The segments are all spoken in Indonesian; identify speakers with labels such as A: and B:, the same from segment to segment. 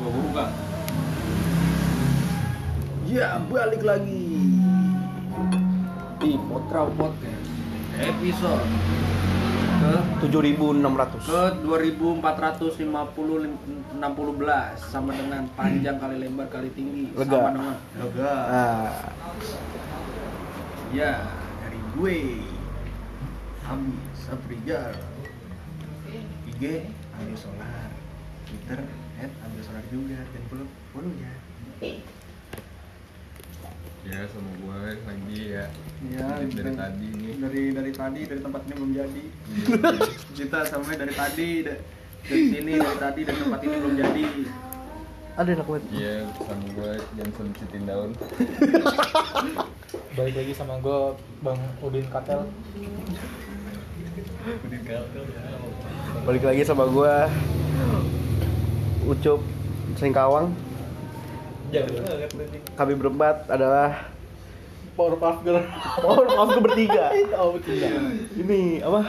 A: buka.
B: Ya, balik lagi di Potrau Podcast
A: Episode ke
B: 7600.
A: ke 2450 belas sama dengan panjang kali lebar kali tinggi
B: Lega.
A: sama dengan lega.
B: Ah,
A: Ya, dari gue Hamdi Saprijar. IG Ambil Solar. Twitter at Ambil Solar juga dan follow follow ya.
C: Ya sama gue lagi ya
A: Ya,
C: Dari
A: dan-
C: tadi nih.
A: Dari Iya. dari tadi dari tempat ini belum jadi. Kita sampai dari tadi da- dari sini dari tadi dari tempat ini belum jadi.
B: ada enak banget.
C: Iya sama gue Johnson Citin Daun
D: balik lagi sama gue bang Udin Katel
B: Balik lagi sama gua Ucup Singkawang.
A: Ya,
B: Kami berempat adalah
D: Powerpuff Girl
B: Oh, maaf gue bertiga.
D: oh tidak
B: Ini apa?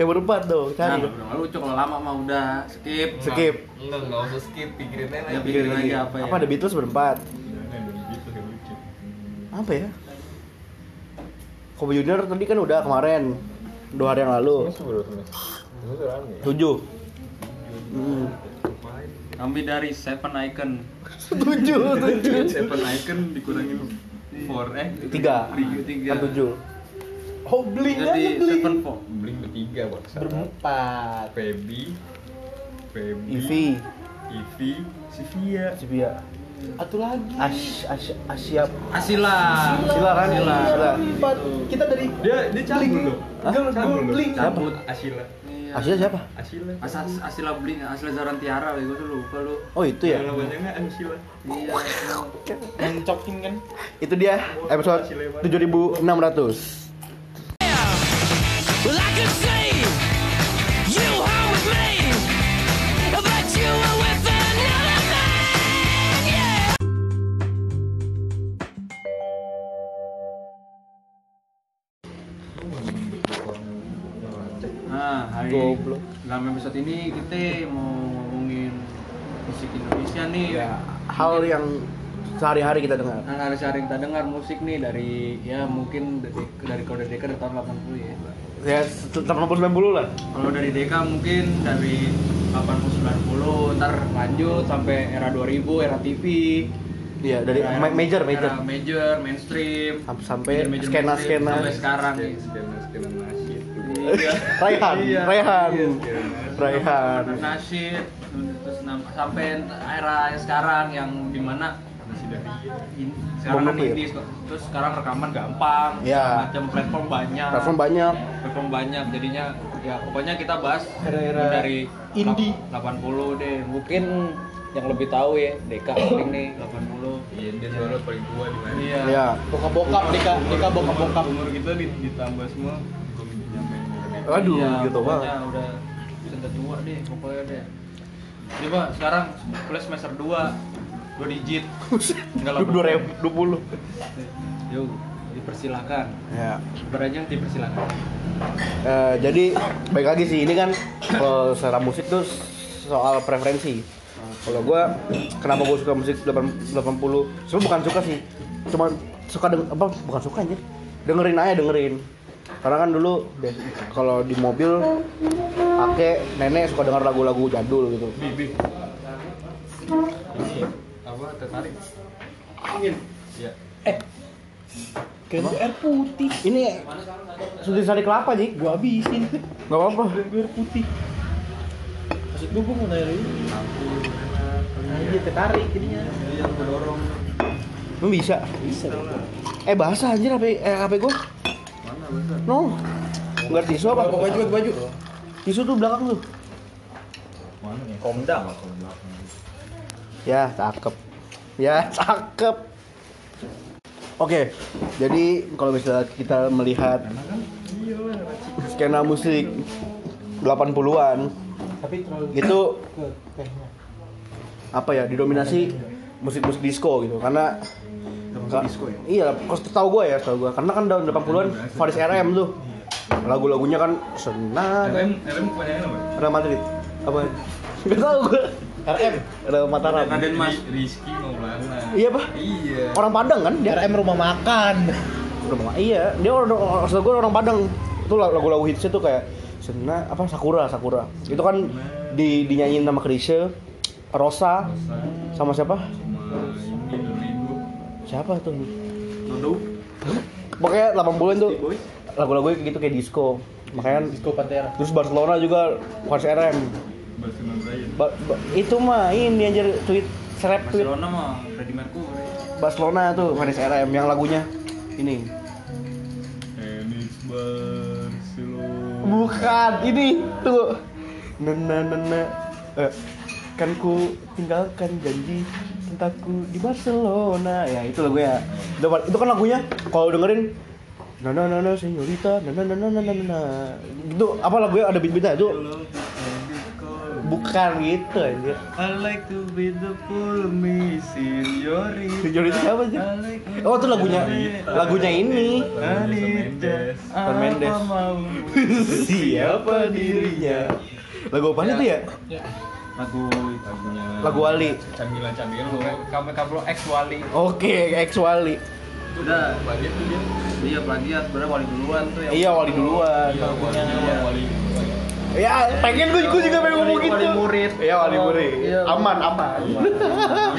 B: Yang berempat dong, cari.
A: Iya. Nah, lu cok kalau lama mah udah skip.
B: Skip.
C: Enggak, enggak usah skip, pikirin
A: Ya,
C: aja
A: pikirin lagi apa ya?
B: Apa ada Beatles berempat?
C: Jangan dong, Iya, gitu kan lucu
B: Apa ya? Kobe Junior tadi kan udah kemarin dua hari yang lalu.
C: sebelum temen Itu tuh rame ya?
B: Tujuh. Hmm.
A: Kami dari Seven Icon.
B: tujuh, tujuh.
A: Kan Seven Icon dikurangin 4 eh
B: Tiga.
A: tiga, tiga.
B: Kan tujuh.
D: oh bling
A: Jadi
D: aja bling
A: Seven Four.
C: Beli bertiga bangsa
D: berempat
C: Feby Feby
B: Ivi,
C: Ivi Sivia
B: Sibia,
D: satu lagi
B: Ash, Ash, Asia,
A: Asila.
B: Asila kan?
A: Asila.
B: Asila.
D: berempat kita dari
C: Dia, dia cabul loh
B: Hah?
C: Enggak, cabul loh
D: Bling.
C: Cabut Asila
A: Iya.
B: Asia siapa?
C: Asila
A: Asa- Asila Bling, Asila Zarantiara, gue tuh lupa lu.
B: Oh itu ya,
C: Namanya enggak Asila
A: Iya.
D: yang cokin kan
B: itu dia episode 7600
E: Well, I could see you hung with me, but you were with another man. Yeah.
A: Nah, hari
B: Goblok.
A: dalam episode ini kita mau ngomongin musik Indonesia nih.
B: Ya, hal yang sehari-hari kita dengar
A: Nah, hari sehari kita dengar musik nih dari ya mungkin dari, dari kalau dari Deka dari tahun 80 ya.
B: Ya, 80-90 lah
A: Kalau dari Deka mungkin dari 80 90 ntar lanjut sampai era 2000, era TV.
B: Iya, dari
A: era-
B: ma- major, major
A: Era major, mainstream.
B: Sampai- sampai
A: Major-major mainstream,
B: skena-skena
A: sampai sekarang.
C: Sekian, sekian, sekian masih
A: Iya.
B: Raihan,
A: Iya.
B: Raihan Raihan
A: Raihan Nasib terus nam- sampai era yang sekarang yang dimana
C: Masih dari dia
A: in- sekarang kan
B: Bom Nuklir.
A: indie, terus sekarang rekaman gampang
B: Iya.
A: macam platform banyak
B: Platform banyak
A: platform banyak jadinya ya pokoknya kita bahas
D: Era-era
A: dari
D: indie.
A: 80 deh mungkin yang lebih tahu ya Deka paling nih 80
C: Iya, dia soalnya paling tua di mana
A: iya
B: Iya
D: bokap bokap dika dika bokap bokap
C: umur
A: gitu
C: kita di- ditambah semua belum nyampein lebih
B: Aduh,
A: Iya,
B: gitu
A: pokoknya
B: banget
A: udah sudah tua deh pokoknya deh coba sekarang kuliah semester 2 dua digit enggak lama.
B: 2020
A: yuk dipersilakan
B: Ya
A: berajang dipersilakan
B: Eh, jadi baik lagi sih ini kan kalau secara musik tuh soal preferensi. Kalau gua kenapa gua suka musik 80 Sebenernya bukan suka sih. Cuman suka deng apa bukan suka anjir. Dengerin aja dengerin. Karena kan dulu bias- kalau di mobil pakai nenek suka denger lagu-lagu jadul gitu.
C: ini apa tertarik
A: ingin
C: ya
D: keren Iya. Eh. air putih
B: Ini sudah sari kelapa, Ji.
D: gua habisin
B: Gak apa-apa.
D: gue air putih maksud gue gue mau nanya dulu aja tertarik jadinya
C: yang mendorong
B: Lu bisa.
D: bisa dong.
B: Eh bahasa anjir HP eh HP gua.
C: mana besar
B: No. Enggak tisu apa?
D: baju baju baju
B: Tisu tuh belakang tuh.
C: mana ya komdam komdam
B: Ya, cakep. Ya, cakep. Oke, jadi kalau misalnya kita melihat skena musik 80-an
D: tapi terlalu
B: itu
D: ke tehnya
B: apa ya didominasi musik-musik disco gitu karena disco ya? Iya, kos tahu gue ya, tahu gue. Karena kan tahun 80-an Faris RM tuh. Lagu-lagunya kan senang.
C: LM LM kepanjangan apa
B: Real Madrid. Apa? Gak tau gue.
F: RM
B: Ada Mataram.
C: Raden Mas Rizky Maulana.
B: Iya, Pak.
C: Iya.
B: Orang Padang kan dia?
F: RM rumah makan
B: Rumah- iya, dia orang orang asal gua orang Padang. Itu lagu-lagu hitsnya tuh kayak Sena apa Sakura Sakura. Itu kan di dinyanyiin sama Krisye, Rosa, sama siapa?
C: Sama ini Dorigo.
B: Siapa tuh?
G: Nodo,
B: Pokoknya 80-an tuh
G: Boy.
B: lagu-lagu kayak gitu kayak disco. Makanya
F: Disco Pantera
B: terus Barcelona juga Kuars RM.
C: Barcelona Brian.
B: Ba- ba- itu mah ini anjir tweet serap tweet
G: Barcelona mah Freddie Mercury.
B: Barcelona tuh Kuars RM yang lagunya ini.
C: Enix Eh, Barcelona.
B: Bukan, ini tuh. Nena nena. Eh, kan ku tinggalkan janji cintaku di Barcelona. Ya itu lagunya. Udah, Itu kan lagunya kalau dengerin na na na na señorita na na na na na na, na. Itu apa lagunya ada beat-beatnya itu? Bukan gitu anjir.
C: I like to be the full me, señorita.
B: Señorita siapa sih?
C: I like to
B: Oh, itu lagunya.
C: señorita.
B: Lagunya ini.
C: Anita,
A: Ah,
B: Shawn Mendes.
C: apa mau?
B: Siapa dirinya? Lagu apa itu ya?
C: Lagu lagunya.
B: Lagu Wali.
C: Camila Camilo. eh, Kamu kamu ex Wali.
B: Oke, ex Wali.
G: Udah,
C: Plagiat tuh dia.
G: dia
A: iya,
G: plagiat sebenarnya wali duluan tuh yang
B: Iya, Wali duluan.
C: Iya, Wali. Iya, Wali.
B: Ya, pengen gue, gue juga pengen ngomong gitu.
G: Wali murid.
B: Iya, wali murid.
G: Iya.
B: aman, aman.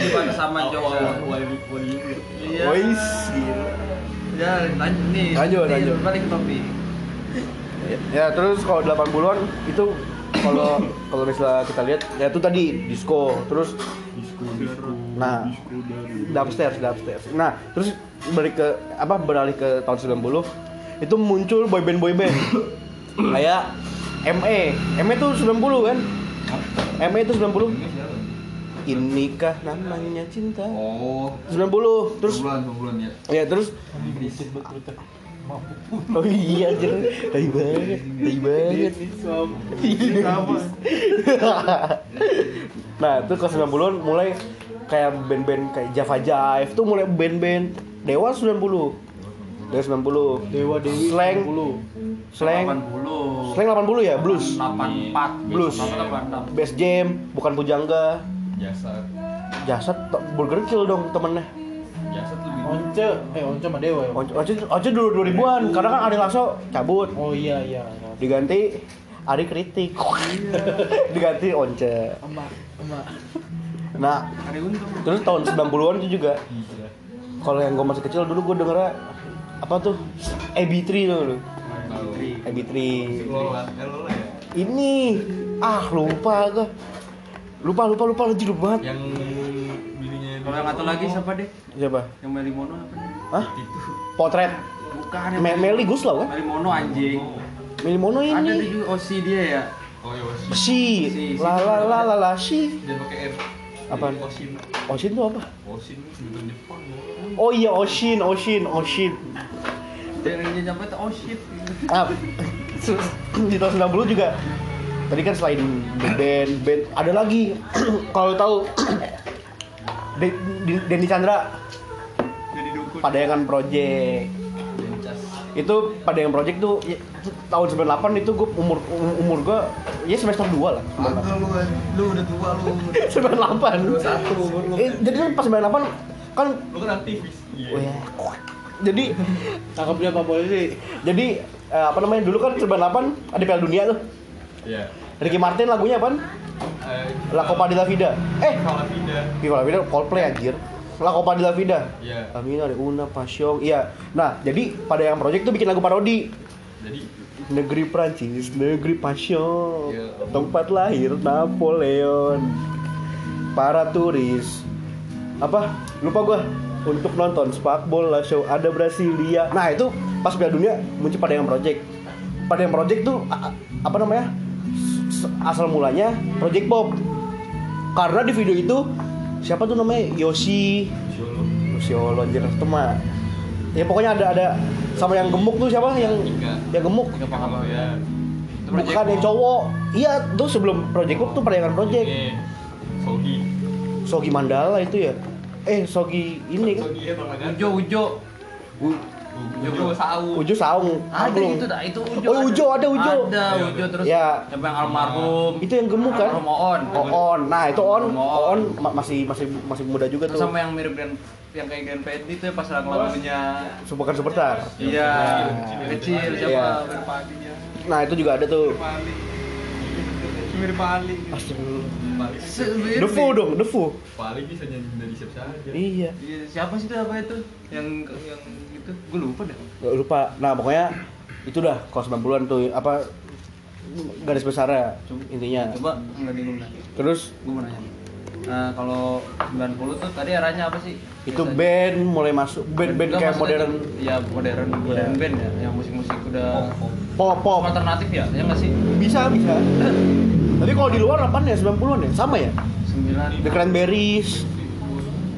G: bukan sama
C: Wali
G: Jawa.
C: Wali Wali. Wali.
G: Iya.
B: Wais, gila.
G: Ya, lanjut nih.
B: Lanjut,
G: Nih,
B: lanjut.
G: Balik ke topik.
B: Ya, terus kalau 80-an itu kalau kalau misalnya kita lihat ya itu tadi disco, terus
C: Disco, disco,
B: Nah.
C: disco dari-
B: dubstep, dubstep. Nah, terus balik ke apa beralih ke tahun 90 itu muncul boyband boyband kayak E. ME. ME itu 90 kan? ME itu 90. Inikah namanya cinta?
C: Oh,
B: 90 terus
C: bulan bulan ya.
B: ya terus
F: Dibisin buat Twitter
B: Oh iya anjir, tai banget, tai banget. nah, itu ke 90-an mulai kayak band-band kayak Java Jive tuh mulai band-band Dewa 90. Dewa 90.
F: Dewa Dewi
B: Slang.
F: 90.
B: Slang
G: 80.
B: Slang 80 ya,
G: 84.
B: blues.
A: gitu.
B: Blues.
G: 86.
B: Best Jam, bukan Pujangga.
C: Jasad.
B: Jasad to- Burger Kill dong temennya.
C: Jasad lebih.
F: Once Eh Once sama Dewa ya
B: Oce, Oce, Oce dulu 2000-an, karena kan Ari Lasso cabut.
F: Oh iya iya
B: Diganti Ari kritik. Diganti Once.
F: Emak Emak
B: Nah,
G: Hari untung.
B: Terus tahun 90-an itu juga kalau yang gue masih kecil dulu gue dengernya apa tuh? AB3 tuh dulu. AB3.
C: Lola, eh, Lola ya.
B: Ini ah lupa gue. Lupa lupa lupa lu jujur banget.
C: Yang bininya.
G: Kalau yang satu lagi siapa deh?
B: Siapa?
G: Yang Meli Mono apa?
B: Hah? Potret.
G: Bukan yang
B: Me Meli Guslau kan?
G: Meli Mono anjing.
B: Meli Mono
G: Ada tuh
B: ini.
G: juga OC dia ya.
C: Oh ya Washi.
B: Si
G: Si- si-
B: la la la la la si.
C: Jangan pakai R.
B: Apaan?
C: Osin.
B: Oshin tuh apa?
C: Osin itu sebutan Jepang. ya.
B: Oh iya Oshin, Oshin, Oshin.
G: Dia yang nyampe tuh oh shit.
B: Ah, terus di tahun 90 juga tadi kan selain band band ada lagi kalau tahu De- De- Denny Chandra
C: Jadi dukun.
B: Padayangan Project
C: Dencas.
B: itu Padayangan Project tuh ya, tuh tahun 98 itu gue umur umur gue ya semester 2 lah
C: Agak lu, lu udah tua lu.
B: 98
C: Satu umur lu.
B: eh, jadi pas 98 kan
C: Lu kan aktivis.
B: oh ya, jadi
F: Tangkap dia apa polisi
B: jadi eh, apa namanya dulu kan 98 ada Piala Dunia tuh
C: Iya.
B: Ricky Martin lagunya apa?
C: Eh,
B: La Copa de la Vida. Eh,
C: Kalau pindah.
B: Viva La Vida Coldplay anjir. La Copa de la Vida.
C: Iya.
B: La Vida de una pasión. Iya. Nah, jadi pada yang project tuh bikin lagu parodi.
C: Jadi
B: Negeri Prancis, negeri passion.
C: Iya.
B: Tempat lahir Napoleon. Para turis. Apa? Lupa gua. Untuk nonton sepak bola show ada Brasilia. Nah, itu pas Piala Dunia muncul pada yang project. Pada yang project tuh a- a- apa namanya? S- Asal mulanya Project Pop. Karena di video itu siapa tuh namanya? Yoshi
C: Jolo.
B: Luciolo anjir itu mah ya pokoknya ada ada sama yang gemuk tuh siapa yang
C: Ika.
B: yang gemuk
C: Enggak paham ya. Itu Project
B: bukan yang
C: Mo.
B: cowok iya tuh sebelum project Pop tuh perayangan project
A: Iya.
C: Ini, Sogi.
B: Sogi Mandala itu ya eh Sogi ini kan
C: Sogi ya Bang Agan.
G: Ujo Ujo.
B: U-
C: Ujo Sawu.
B: Ujo saung,
A: Ada
B: angklung.
A: Ah, itu dah, itu Ujo.
B: Oh, Ujo, ada Ujo.
A: Ada
C: Iya,
A: Ujo
C: ada.
A: terus
B: Ya.
A: yang almarhum.
B: Itu yang gemuk kan?
A: Almarhum Oon.
B: Oh, on. Nah, itu on.
A: Om On.
B: On ma- masih masih masih muda juga
A: Terus
B: tuh.
A: sama yang mirip dengan yang kayak Grand Fendi itu ya pas lagu-lagunya.
B: Bukan superstar.
A: Iya,
B: Iya.
A: kecil
B: Iya.
A: siapa? Mirip Ali ya.
B: Nah, itu juga ada tuh.
C: Ali. Mirip Ali.
A: Se-
B: Defu dong, Defu.
C: Ali bisa nyanyi dari siapa saja.
B: Iya.
A: Iya, siapa sih itu apa itu? Yang yang itu gue lupa dah.
B: Gak lupa. Nah, pokoknya itu dah kalau 90-an tuh apa garis besarnya intinya.
A: Coba nggak bingung dah.
B: Terus
A: Gue mau nanya. Nah, kalau 90 tuh tadi arahnya apa sih?
B: itu
A: Biasanya.
B: band mulai masuk band-band
A: Enggak,
B: kayak
A: maksudnya
B: modern Iya.
A: tuh- Iya, modern, modern band ya, yang musik-musik udah
B: Oh, pop pop.
A: alternatif ya, ya nggak sih?
B: Bisa, bisa. Tapi kalau di luar apaan ya 90-an ya? Sama ya?
A: 9
B: The Cranberries.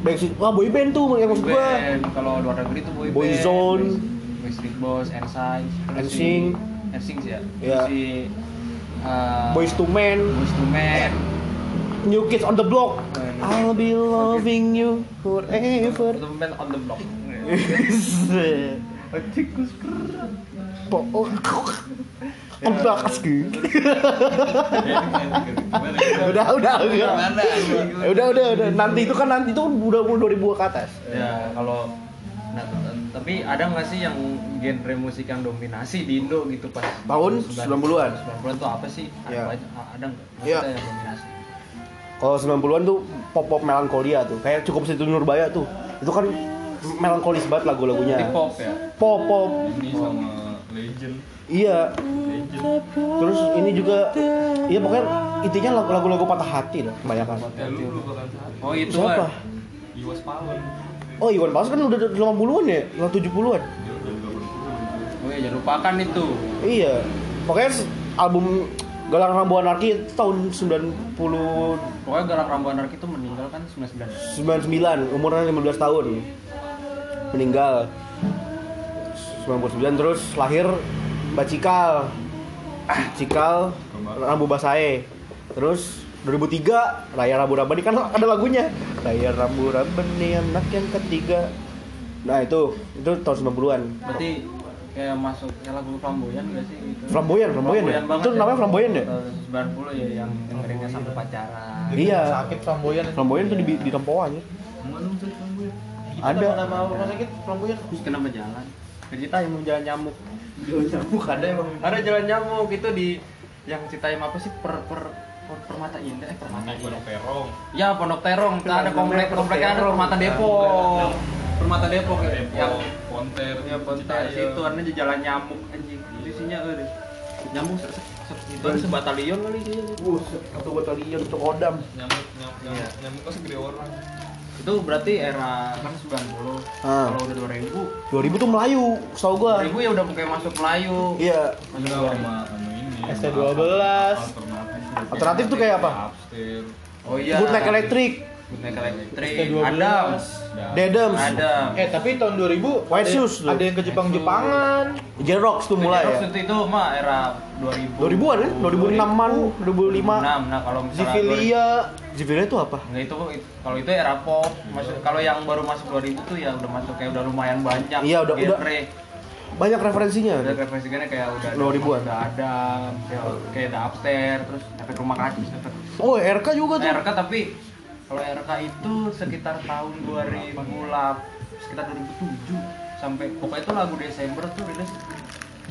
B: Backstreet, wah boy band tuh yang Ya, maksud gua.
A: band kalau luar negeri tuh boy
B: Boyzone.
A: band, Backstreet Boys, NSYNC, terus si-
B: NSYNC.
A: NSYNC sih ya,
B: Iya.
A: Terus si uh,
B: Boys to Men,
A: Boyz II Men,
B: New Kids on the Block. I'll be loving you forever.
A: The Men on the Block,
B: Iya. Po- oh, on the aski. Udah, udah, udah.
A: Gimana?
B: Ya Udah, udah, udah. Nanti itu kan nanti itu kan udah umur 2000 ke atas.
A: ya kalau nah t- tapi ada nggak sih yang genre musik yang dominasi di Indo gitu pas
B: Tahun 90-an?
A: 90-an tuh apa sih ada
B: Ya.
A: banyak- a- ada nggak
B: Ya.
A: Maksudnya yang dominasi
B: Kalau 90-an tuh pop-pop melankolia tuh. Kayak cukup situ Nurbaya tuh. Itu kan melankolis banget lagu-lagunya.
A: hip hop ya
B: Pop, pop.
C: Ini sama Legend.
B: Iya.
C: Legend.
B: Terus ini juga iya pokoknya intinya lagu-lagu patah hati lah kebanyakan.
C: Ya lu lu bakal salah.
A: oh itu
B: Siapa?
A: kan.
C: Iwas Pawon.
B: Oh Iwan Fals kan udah 80-an ya? Udah 70-an?
C: Dia udah
A: oh iya jangan lupakan itu
B: Iya Pokoknya s- album Galang Rambu Anarki itu tahun 90
A: pokoknya Galang Rambu Anarki itu meninggal kan 99
B: 99 Umurnya 15 tahun Meninggal 99 terus lahir Mbak Cikal Cikal Rambu Basae Terus 2003 Raya Rambu Rabani kan ada lagunya Raya Rambu Rabani anak yang ketiga Nah itu itu tahun 90-an
A: berarti kayak masuk kayak lagu flamboyan gak sih gitu
B: Flamboyan, flamboyan ya?
A: banget
B: Itu namanya flamboyan ya?
A: Tahun 90 ya yang dengerinnya sampai pacaran
B: Iya
F: sakit flamboyan
B: Flamboyan tuh di, di Tempoan ya Ada
F: ada nama rumah sakit flamboyan
A: terus kenapa jalan ceritain mau jalan nyamuk jalan nyamuk ada emang ada jalan nyamuk itu di yang ceritain apa sih per per per permata indah eh
C: Nah,
A: permata indah
C: Perong.
A: ya pondok terong Nah, ada komplek kompleknya ada permata depok permata depok ya yang
C: Ponter.
A: ya ponter situ ada jalan nyamuk anjing itu isinya eh, nyamuk se, se- se- itu ada sebatalion kali isinya.
B: Satu batalion, satu kodam
C: Nyamuk nyamuk nyamuk nyamuk kan segede orang.
A: itu berarti era kan 90
B: Ah.
A: kalau udah 2000
B: 2000 tuh Melayu, setahu gua
A: 2000 ya udah kayak masuk Melayu
B: Iya
A: masuk
C: Enggak
A: luar.
C: sama anu ini.
F: ST12.
C: Alternatif.
B: Alternatif tuh kayak apa?
C: Upstairs.
A: oh iya
B: Bootleg elektrik,
A: Bootleg elektrik
F: ST12.
A: Adams
C: Ya.
B: Dedems,
A: Adam
F: eh tapi tahun 2000
B: White
F: ada-
B: Shoes tuh.
F: ada yang ke Jepang Jepangan
B: Jerox tuh mulai ya.
A: Waktu itu mah era 2000
B: 2000-an kan? 2006-an,
A: 2006
B: 2005.
A: nah kalau misalnya
B: Zivilia. Zivilia itu apa?
A: Nah itu kalau itu era pop, masuk kalau yang baru masuk 2000 tuh ya udah masuk kayak udah lumayan banyak.
B: Iya, udah- udah.
A: genre.
B: Banyak referensinya.
A: Udah referensinya kayak udah ada
B: 2000-an.
A: Udah ada kayak, kayak ada upstairs, terus efek rumah kaca, efek
B: Oh, RK juga tuh.
A: RK tapi kalau RK itu sekitar tahun 2008 sekitar 2007 sampai pokoknya itu lagu Desember tuh rilis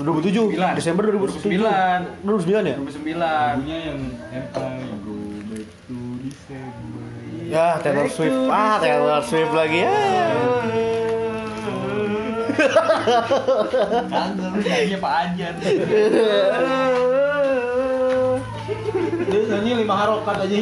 B: 2007.
A: Sembilan.
B: Desember 2007.
A: 2009.
B: 2009 ya?
A: 2009.
C: Lagunya yang MI Go Back to December.
B: Ya, Taylor Swift. Ah, Taylor Swift lagi. Ya.
A: Kagak Kan, lu nyanyi Pak Anjar.
C: Kan.
F: dia nyanyi lima harokat aja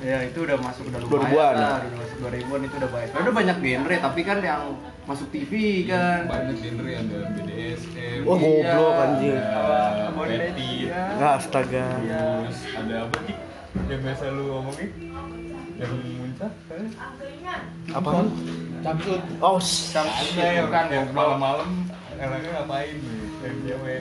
A: ya itu udah masuk udah
B: 2000-an.
A: lumayan lah, udah masuk 2000-an itu udah banyak. Udah banyak genre tapi kan yang masuk TV kan.
C: Banyak genre ada BDSM.
A: Iya.
B: Oh, goblok anjing. Ya,
C: Ada Betty.
A: kan.
B: Astaga.
A: Iya.
C: Terus Iya. ada apa sih? Yang biasa lu ngomongin? Yang muncak? kan?
B: Apaan?
F: cabut
B: Oh, sh-
A: Sampai bukan
C: Iya, yang
A: goblok.
C: malam-malam enaknya ngapain? Yang cewek.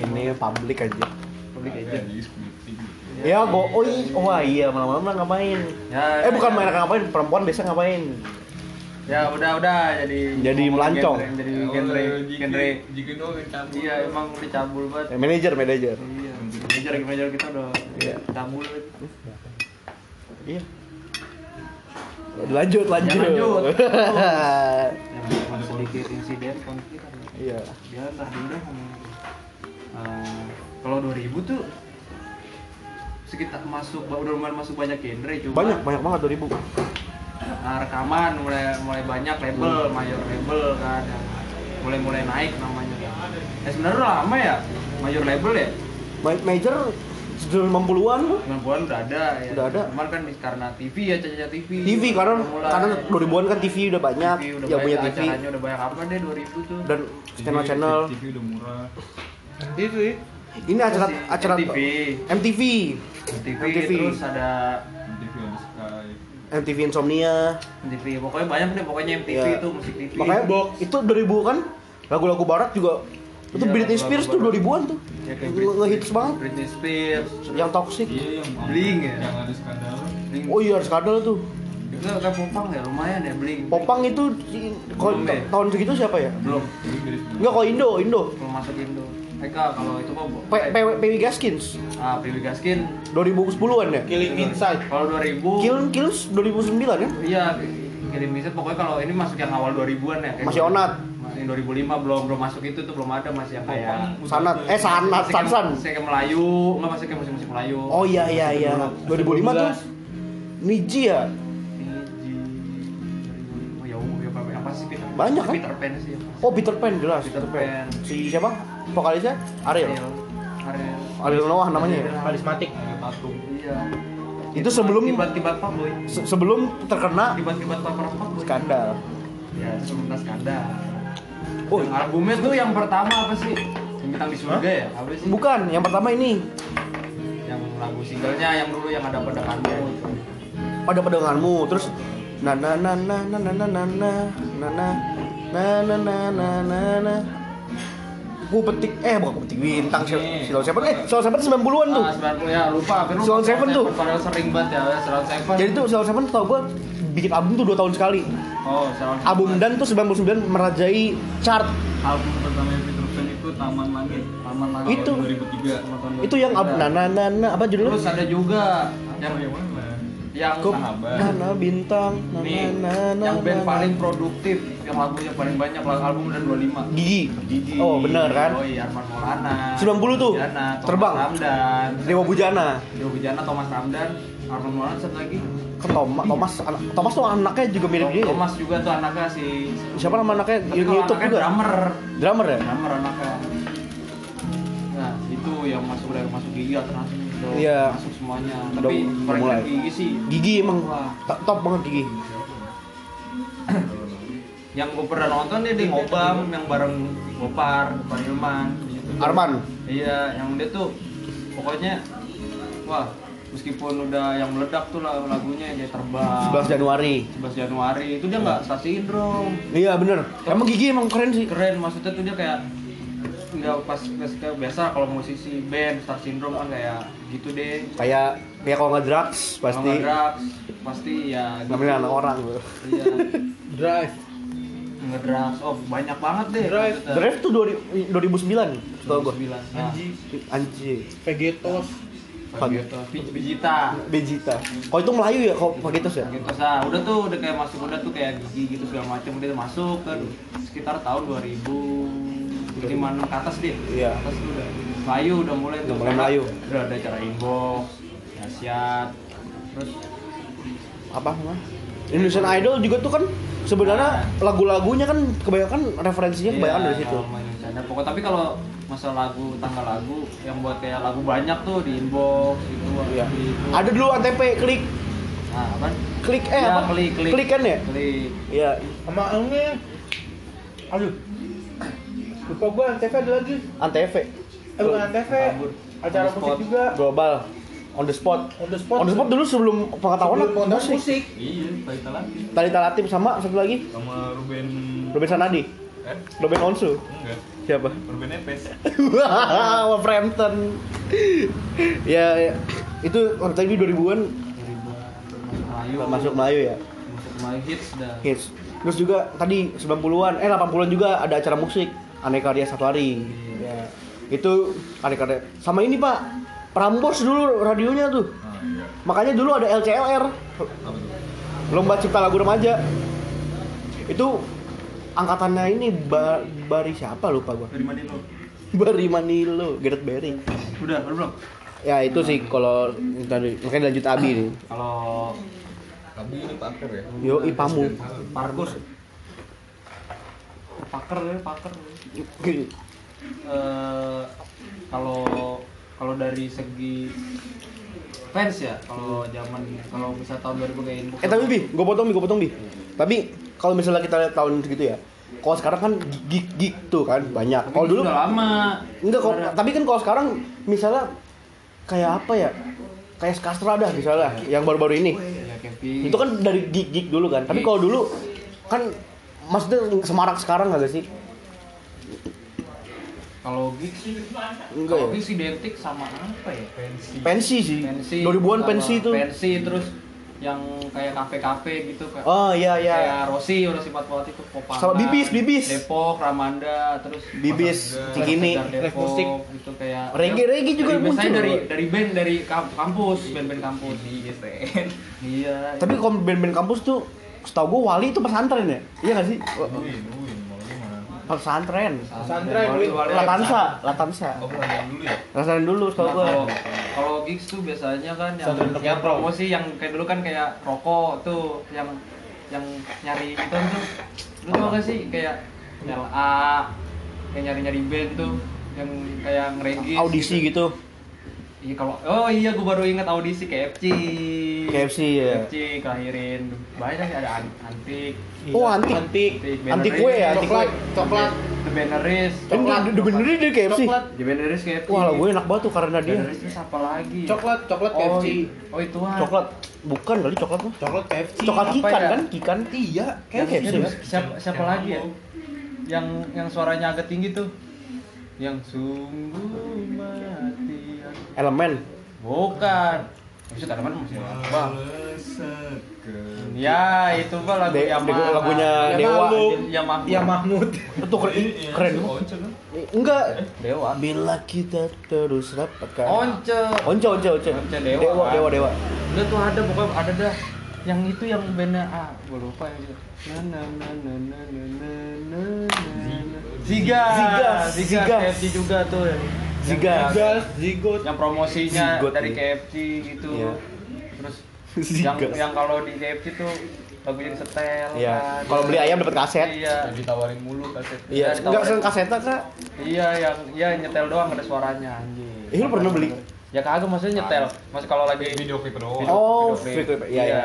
B: ini publik aja.
A: Public
C: Ada
A: agent.
C: di splitting gitu.
B: Ya, go. Oh, iya. Wah, iya malam-malam lah ngapain?
A: Ya,
B: Eh, bukan
A: ya.
B: main ngapain, perempuan biasa ngapain?
A: ya udah udah jadi
B: Jadi melancong.
A: genre, jadi genre
C: Oh,
A: genre
C: Jika doang yang cabut.
A: iya emang udah cabul banget
B: Eh, manajer manajer
A: iya manajer manajer kita udah
B: Iya.
A: cabul
B: iya lanjut lanjut,
A: Ya, lanjut. yang sedikit insiden konflik Ya, ada
B: iya
A: dia tadi udah ngomong eh, kalau 2000 tuh sekitar masuk udah lumayan masuk banyak genre cuma
B: banyak banyak banget 2000
A: Nah, rekaman mulai mulai banyak
B: Hmm.
A: label mayor label kan yang mulai mulai naik namanya ya sebenarnya udah lama ya mayor label ya
B: Ma- major sebelum 50-an
A: 90-an udah ada ya
B: Udah ada.
A: cuman kan karena TV ya caca TV
B: TV karena
A: udah mulai.
B: karena 2000-an kan TV udah banyak
A: TV udah
B: yang
A: banyak
B: punya TV
A: acaranya udah banyak apa deh 2000 tuh
B: dan channel channel
C: TV udah murah.
F: itu ya
B: ini acara
A: Terus di
B: acara
A: MTV.
B: MTV
A: TV,
B: MTV.
A: terus ada
C: TV on Sky.
B: MTV Insomnia
A: MTV pokoknya banyak deh pokoknya MTV
B: Iya.
A: itu musik TV
B: makanya itu 2000 kan lagu-lagu barat juga itu
A: Iya,
B: Britney
A: lagu-lagu
B: Spears tuh
A: barat.
B: 2000-an tuh
A: Ya, kayak
B: Nge- ngehits banget
A: Britney Spears
B: yang toxic
C: Iya yang
A: Bling ya?
C: Yang ada skandal.
A: Blink.
B: oh iya skandal tuh
A: itu kayak popang ya lumayan ya bling
B: Popang itu si- kalau
A: Belum
B: ta-
A: deh.
B: tahun segitu siapa ya
A: belum
C: Inggris.
B: enggak kalau Indo Indo
A: belum masuk Indo Eka kalau itu mah bo-
B: P- P- PW Gaskins
A: ah Billy Gaskin
B: 2010-an ya
F: Killing Inside
A: kalau 2000
B: Kills Kills 2009 ya
A: iya kirim miset pokoknya kalau ini masuk yang awal 2000-an ya kayak
B: Masih
A: dulu.
B: onat.
A: yang 2005 belum belum masuk itu tuh belum ada masih yang kayak
B: Sanat eh Sanat
A: masih kayak-
B: Sansan
A: masih kayak Melayu nggak masih kayak musik-musik Melayu
B: oh iya iya iya 2005 tuh Niji ya
A: Niji, 2005. ya umum ya apa apa sih Peter
B: Banyak, kan?
A: Peter Pan sih ya
B: oh Peter Pan jelas
A: Peter Pan
B: si siapa vokalisnya Ariel
A: Ariel Ariel
B: Ariel Noah namanya ya?
F: karismatik
C: Ada tatung.
A: iya
B: itu sebelum
A: tiba-tiba apa boy
B: se- sebelum terkena
A: tiba-tiba apa boy
B: skandal
A: ya terus mengenai skandal
B: Oh.
A: oh albumnya tuh yang pertama apa sih yang bintang di surga ya apa sih
B: bukan yang pertama ini
A: yang lagu singlenya yang dulu yang ada pada kamu
B: pada pedenganmu terus na na na na na na na na na na na na na na na na na ku petik eh bukan ku petik bintang si
A: Iya.
B: Silon Seven eh Silon Seven 90-an tuh
A: ah 90 ya lupa hampir lupa
B: Sound Seven tuh.
A: padahal sering banget ya Sound Seven
B: jadi tuh Silon Seven tau gue bikin album tuh 2 tahun sekali
A: oh Sound Seven.
B: album dan tuh 99 merajai chart
C: Album pertama yang Peter Pan itu Taman Langit.
A: Taman Langit.
B: itu
C: 2003.
A: Sama tahun
B: itu yang ya?
A: 2003.
B: album na na na na apa judulnya
A: Iya. terus ada juga yang
C: Yang mana?
A: yang
B: Kup
C: Sahabat.
B: na na bintang na
A: nih
B: na na
A: yang
B: na
A: band
B: na
A: paling produktif yang lagunya paling banyak lagu album udah 25
B: gigi
A: Gigi
B: oh bener kan
A: Yoi, Arman Maulana
B: 90 tuh.
A: Bujana, Thomas
B: Terbang.
A: Ramdan
B: Dewa Bujana
A: Dewa Bujana, Thomas Ramdan, Arman Maulana satu lagi.
B: kan Thomas Thomas anak Thomas tuh anaknya juga mirip dia ya?
A: Thomas juga tuh anaknya si
B: Siapa nama anaknya?
A: Tapi
B: Di
A: kalau
B: YouTube
A: anaknya
B: juga.
A: Drummer.
B: Drummer ya?
A: Drummer anaknya. Nah, itu yang masuk dari masuk gigi alternatif udah
B: Iya.
A: masuk semuanya.
B: Udah-
A: Tapi
B: udah
A: paling
B: mulai.
A: keren gigi sih.
B: Gigi emang
A: Wah.
B: top, top banget gigi.
A: Yang gue pernah nonton dia di Ngobam yang bareng Gopar, Gopar Hilman. di situ.
B: Arman.
A: Iya, yang dia tuh pokoknya wah meskipun udah yang meledak tuh lagu- lagunya dia terbang
B: 11 Januari.
A: 11 Januari itu dia nggak stasiun dong
B: Iya bener. Emang gigi emang keren sih.
A: keren maksudnya tuh dia kayak nggak pas, pas kayak biasa kalau musisi band Star Syndrome kan kayak gitu deh
B: Kayak ya kalau nggak drugs
A: Kalau nggak
B: pasti
A: drugs, pasti ya
B: namanya anak orang. bro.
A: iya
F: drive
A: ngedrugs oh banyak banget deh
F: Drive.
A: drive
B: Drive tuh 2000 2009 tau gue.
A: bilang
F: anji
B: Anjir.
F: vegetos
A: Gitu.
B: Vegeta.
A: Vegeta
B: Vegeta. Kalau itu Melayu ya, kalau Vegetus ya.
A: gitu sa udah tuh udah kayak masuk udah tuh kayak gigi gitu segala macam udah masuk kan sekitar tahun 2000 lima ke atas deh
B: Iya.
A: atas tuh udah Melayu udah mulai tuh
B: Udah mulai Melayu.
A: udah ada acara inbox dahsyat terus
B: Apa namanya? Indonesian Idol juga tuh kan sebenarnya lagu-lagunya kan kebanyakan referensinya
A: Iya.
B: kebanyakan dari situ.
A: sama Indonesia. pokok tapi kalau masalah lagu tanggal lagu yang buat kayak lagu banyak tuh di inbox gitu
B: Iya.
A: di itu.
B: Ada dulu Antp klik
A: nah apa
B: klik eh
A: Ya,
B: apa?
A: klik klik
B: Klik kan ya?
A: klik
B: Iya.
F: sama ini aduh lupa gua antv ada lagi
B: Antv.
F: eh bukan antv
A: Kabur.
F: acara
A: On the
F: musik
A: spot.
F: juga
B: Global on the spot.
F: on the spot
B: On the spot dulu sebelum pengetahuan
F: Sebelum
B: aku
F: pengetahuan
B: musik.
F: musik
C: Iya, Taita lagi.
B: Talita Latif sama satu lagi
C: Sama Ruben.
B: Ruben Sanadi,
C: Eh,
B: Ruben Onsu.
C: enggak.
B: Siapa?
C: Ruben Epes.
B: Wolverhampton. ya, ya. itu orang tadi 2000-an
A: Dari Melayu
B: masuk Melayu ya.
A: masuk Melayu hits dah
B: Hits. Terus juga tadi 90-an, eh 80-an juga ada acara musik Aneka Ria Satu Hari. Ya. Itu Aneka Ria. Sama ini Pak, Prambors dulu radionya tuh.
C: Ah, iya.
B: Makanya dulu ada LCLR. Lomba cipta lagu remaja. Itu angkatannya ini ba Bari siapa lupa gua.
G: dari mana lo
B: Bari Manilo, Gareth Barry.
G: udah lu belum
B: Ya itu sih kalau tadi makanya lanjut Abi nih.
A: Kalau
C: Tapi ini paker ya.
B: Yo Ipamu.
G: Markus
A: paker ya, paker. Eh, kalau kalau dari segi fans ya, kalau zaman kalau bisa tahun 2000 kayak ini.
B: Eh tapi bi, gue potong bi, gue potong bi. Tapi kalau misalnya kita lihat tahun segitu ya, kalau sekarang kan gig gig tuh kan banyak. Kalau dulu
A: udah lama.
B: enggak kok.
A: Sebenarnya.
B: Tapi kan kalau sekarang misalnya kayak apa ya? Kayak skastra dah misalnya yang baru-baru ini.
A: Ya, Kevin.
B: Itu kan dari gig gig dulu kan. Tapi kalau dulu kan maksudnya semarak sekarang nggak sih?
A: kalau gig sih
B: Enggak
A: kalau
B: ya?
A: gig sih identik sama apa ya? Pensi.
B: Pensi sih.
A: Pensi.
B: 2000-an
A: sama
B: pensi itu.
A: Pensi terus yang kayak kafe-kafe gitu kayak
B: Oh iya iya.
A: kayak Rosi, Rosi Patwati itu Popangan.
B: Sama Bibis, Bibis.
A: Depok, Ramanda, terus
B: Bibis,
A: Pasar Gede,
B: Cikini.
A: Pasar Depok,
F: Live music.
A: gitu kayak
B: Reggae, reggae juga
A: dari, biasanya
B: muncul.
A: dari dari band dari kam- kampus, band-band kampus di ISTN. Iya.
B: Tapi kalau band-band kampus tuh setahu gue Wali itu pesantren ya? Iya nggak sih?
C: Duin, duin, mau gimana?
B: Pesantren.
F: Pesantren, Wali.
B: Latansa, Latansa.
C: Oh, pelajaran dulu ya?
B: Rasain dulu setahu
A: Nah,
B: gue.
A: kalau kalau gigs tuh biasanya kan yang,
F: Pesantren untuk
A: yang
F: nyampro.
A: promosi yang kayak dulu kan kayak rokok tuh yang yang nyari itu tuh lu tau gak sih kayak LA kayak nyari nyari band tuh yang kayak ngeregis
B: Audisi gitu.
A: Iya kalau oh iya gue baru ingat audisi KFC.
B: KFC, ya.
A: KFC kelahirin banyak sih ada an- antik. Iya.
B: Oh, antik.
F: Antik.
A: Banneris,
B: Antik kue ya, antik kue.
F: Coklat, coklat.
A: The Banneris.
B: Ini udah- udah benerin dari KFC.
F: Coklat.
A: The Banneris KFC.
B: Wah, lah gue enak banget tuh karena dia
A: Banneris terus apa lagi?
F: Coklat, coklat
A: Oh,
F: KFC.
B: iya.
A: i- oh itu ah.
B: coklat. Bukan kali coklat mah.
F: Coklat KFC.
B: Coklat
A: Apa
B: kikan
A: ya?
B: kan? Kikan.
F: Iya,
B: Kan
F: KFC.
B: KFC.
F: Bos.
A: Siapa siapa lagi ya? Yang yang suaranya agak tinggi tuh. Yang sungguh mati. aku-
B: Elemen.
A: Bukan. Maksudnya tanaman masih bang.
C: Seke.
A: Ya itu pak lagu
B: De-
A: Yamaha. Ya,
B: de- lagunya
F: Dewa.
A: Yamaha.
F: Ya Mahmud.
B: Itu keren. keren.
C: Keren. Once kan?
B: Enggak.
A: Dewa.
B: Bila kita terus rapat kan.
A: Once.
B: Once, once, once.
A: Once Dewa.
B: Dewa, dewa, dewa.
A: Udah tuh ada pokoknya ada dah yang itu yang benar ah gue lupa yang itu. Na na na na na na na na na na. Ziga.
B: Ziga,
A: Ziga.
B: Ziga.
A: KFC juga tuh. Yang-
B: Ziga.
A: yang-
F: Zigot.
A: Yang promosinya
B: Zigot
A: dari
B: nih.
A: KFC gitu.
B: Iya.
A: Terus
B: Ziga.
A: yang yang kalau di KFC tuh lagunya disetel.
B: Iya.
A: kan.
B: Kalau beli ayam dapat kaset.
A: Iya.
C: Jadi tawarin mulu kan, kaset.
B: Iya,
A: Iya,
B: enggak
A: ditawarin.
B: sering kasetnya kak.
A: Iya yang iya nyetel doang ada suaranya anjir.
B: Eh, lu pernah beli? Iya.
A: Ya kagak maksudnya nyetel. Mas kalau lagi
C: Video klip doang.
B: Oh,
A: video
B: video klip. Iya, iya.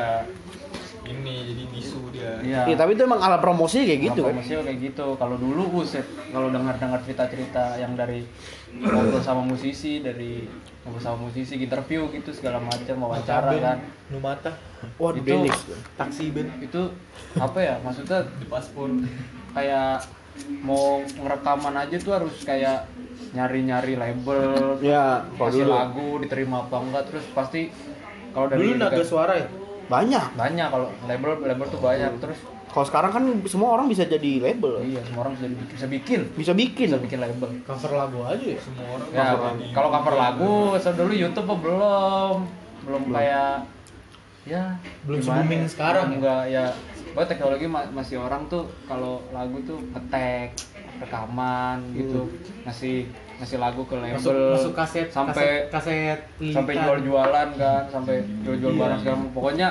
C: Ini jadi bisu dia.
A: Iya.
B: Iya, tapi itu emang ala promosi kayak gitu
A: gitu
B: kan.
A: kayak gitu. Kalau dulu uset kalau dengar-dengar cerita-cerita yang dari ngobrol sama musisi, dari ngobrol sama musisi, interview gitu segala macam wawancara kan.
F: Numata.
B: Waduh,
A: Itu-
B: Denix.
F: Taksi Ben.
A: Itu apa ya? Maksudnya
C: Di paspor.
A: kayak mau ngerekaman aja tuh harus kayak nyari-nyari label,
B: Ya, kalau
A: kasih
B: dulu.
A: lagu diterima apa enggak terus pasti kalau dari
F: Dulu naga
A: juga-
F: suara ya?
B: Banyak.
A: banyak kalau label label tuh banyak terus
B: Kalau sekarang kan semua orang bisa jadi label.
A: iya semua orang bisa bikin bisa bikin
B: Bisa bikin.
A: bisa bikin label
F: Cover lagu aja ya?
C: Semua orang
A: ya
C: bakal di-
A: kalau cover lagu so dulu YouTube apa belum belum kayak ya
F: Belum
A: gimana
F: se-booming
A: ya?
F: sekarang ya?
A: enggak ya bahwa teknologi ma- masih orang tuh kalau lagu tuh ngetek rekaman gitu ngasih ngasih lagu ke label
F: Hmm. Masuk masuk kaset
A: sampai
F: kaset, kaset lirikan.
A: sampai jual-jualan kan sampai jual-jual barang segala macam. pokoknya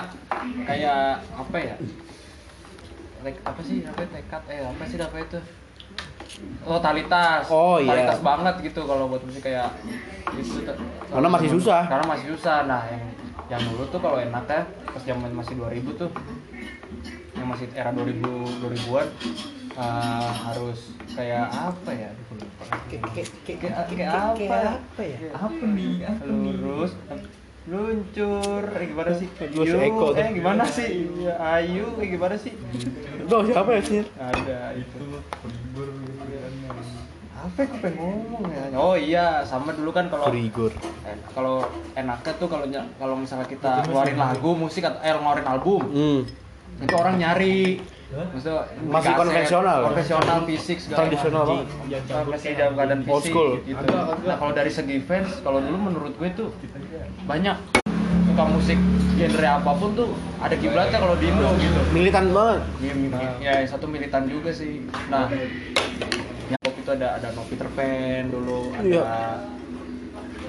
A: kayak apa ya Tek, apa sih apa tekad eh apa sih apa itu totalitas
B: Oh, iya.
A: totalitas banget gitu kalau buat musik kayak itu
B: Karena masih susah.
A: karena masih susah nah yang yang dulu tuh kalau enaknya pas zaman masih 2000 tuh yang masih era 2000 2000-an eh, harus kayak apa ya Aduh, lupa.
F: Kayak- kayak-
A: Kayak
F: kayak-
A: kayak
F: kayak-
A: apa?
F: kayak apa ya?
A: apa nih apa lurus luncur eh, gimana sih
B: Lu si Eko tuh.
A: eh gimana sih Iya, ayu eh, gimana sih
B: Itu siapa ya sih?
A: ada itu
C: itu pelibur gitu kan harus
A: apa yang pengen ngomong ya oh iya sama dulu kan kalau
B: Rigor.
A: eh, kalau enaknya tuh kalau ny- kalau misalnya kita ngeluarin lagu musik atau eh, ngeluarin album
B: Hmm.
A: itu orang nyari Maksudnya
B: Masih
A: kaset,
B: konvensional.
A: konvensional fisik segala
B: Tradisional
A: macam.
B: banget.
F: Yang
A: Nah,
F: campur
A: Masih dalam keadaan fisik
B: Old school.
A: gitu.
F: Agak, agak.
A: Nah kalau dari segi fans, kalau dulu menurut gue tuh banyak suka musik genre apapun tuh ada kiblatnya kalau di Indo gitu.
B: militan banget
A: Ya yang satu militan juga sih. Nah yang waktu itu ada ada No Peter Pan dulu, ada
B: Iya.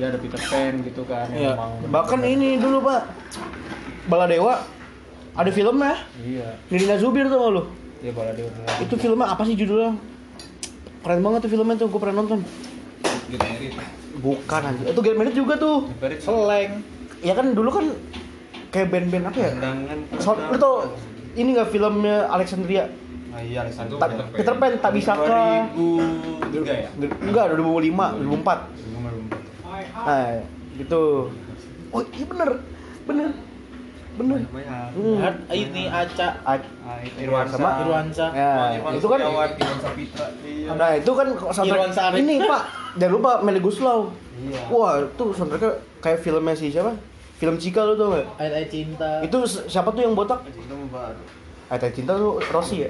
A: ya ada Peter Pan gitu kan. yang
B: Iya.
A: emang
B: bahkan ini dulu pak Baladewa ada filmnya
A: Iya,
B: Nirina Zubir tuh lu
A: iya Baladewa.
B: itu filmnya apa sih judulnya keren banget tuh filmnya tuh gue pernah nonton bukan anjir itu Get Married juga tuh
F: seleng
B: ya kan dulu kan kayak band-band apa ya
A: Tendangan.
B: so, lu tau ini nggak filmnya Alexandria
C: Ah,
A: Nah, iya Alessandro.
B: Ta- Peter Pan tak bisa ke
A: 2003 ya?
B: enggak 2005 2004 Nah, gitu. Oh, iya bener. Bener. Bener. Hmm.
F: Ad- ini Aca Oh, iya,
B: A-
A: Irwan
B: sama
F: Irwansa
B: Ya, itu kan
A: Irwan Sapitra. Iya.
B: Nah, itu kan soundtrack
F: Irwan Sari.
B: ini, Pak. Jangan lupa Melly Guslow.
A: Iya.
B: Wah, itu soundtracknya kayak filmnya si siapa? Film Cika lu tau gak?
F: Ayat-ayat cinta
B: Itu s- siapa tuh yang botak? Ada cinta tuh Rosi ya?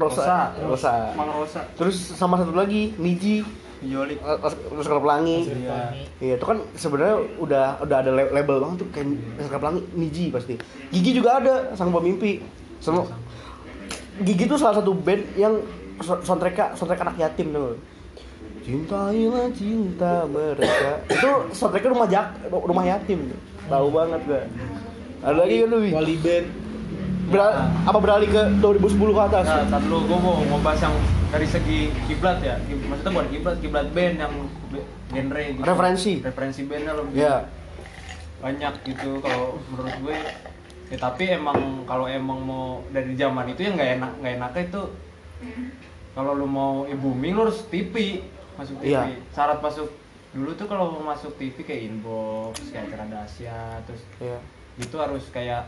B: Rosa. Rosa.
A: Mang Rosa.
B: Terus sama satu lagi, Niji.
A: Yolik.
B: Eh, Terus kalau pelangi.
F: Fani.
B: Iya, itu kan sebenarnya udah udah ada le- label banget tuh kayak Masker Pelangi, Niji pasti. Gigi juga ada, Sang Bawa Mimpi. Semua Gigi tuh salah satu band yang so- soundtracknya soundtrack anak yatim tuh. Cintailah cinta mereka. itu soundtracknya rumah jak rumah yatim. tuh. Tahu banget gue. Ada lagi kan Wi?
F: Wali band
B: Beral- apa beralih ke 2010 ke atas?
A: Nah, tar dulu gue mau ngebahas yang dari segi kiblat ya. Kib- Maksudnya bukan kiblat, kiblat band yang be- genre gitu.
B: Referensi.
A: Referensi bandnya lebih
B: Ya,
A: banyak gitu kalau menurut gue. Ya, tapi emang kalau emang mau dari zaman itu yang nggak enak nggak enaknya itu kalau lu mau ya booming lu harus TV masuk TV
B: Iya.
A: syarat masuk dulu tuh kalau mau masuk TV kayak inbox kayak acara Asia terus
B: ya.
A: itu harus kayak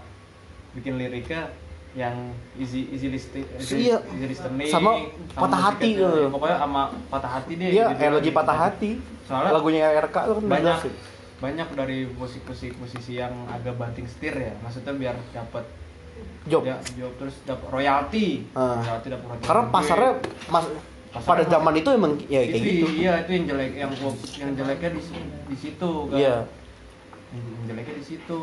A: bikin liriknya yang easy easy listi- easy,
B: Iya.
A: easy listening
B: Sama patah hati
A: musiknya tuh.
B: gitu.
A: pokoknya sama patah hati deh
B: Iya,
A: gitu.
B: energi patah hati.
A: Soalnya
B: lagunya RK tuh kan
A: banyak
B: jelas sih.
A: banyak dari musik-musik musisi yang agak banting setir ya maksudnya biar dapat
B: Job.
A: ya, job terus dapat royalti
B: Ah.
A: royalti dapat royalti
B: Karena
A: gede.
B: pasarnya mas-
A: Iya. Pasarnya
B: pada
A: mas-
B: zaman itu emang ya kayak
A: itu
B: gitu.
A: iya itu yang jelek yang gua- yang jeleknya di si- di situ kan
B: Iya.
A: yang jeleknya di situ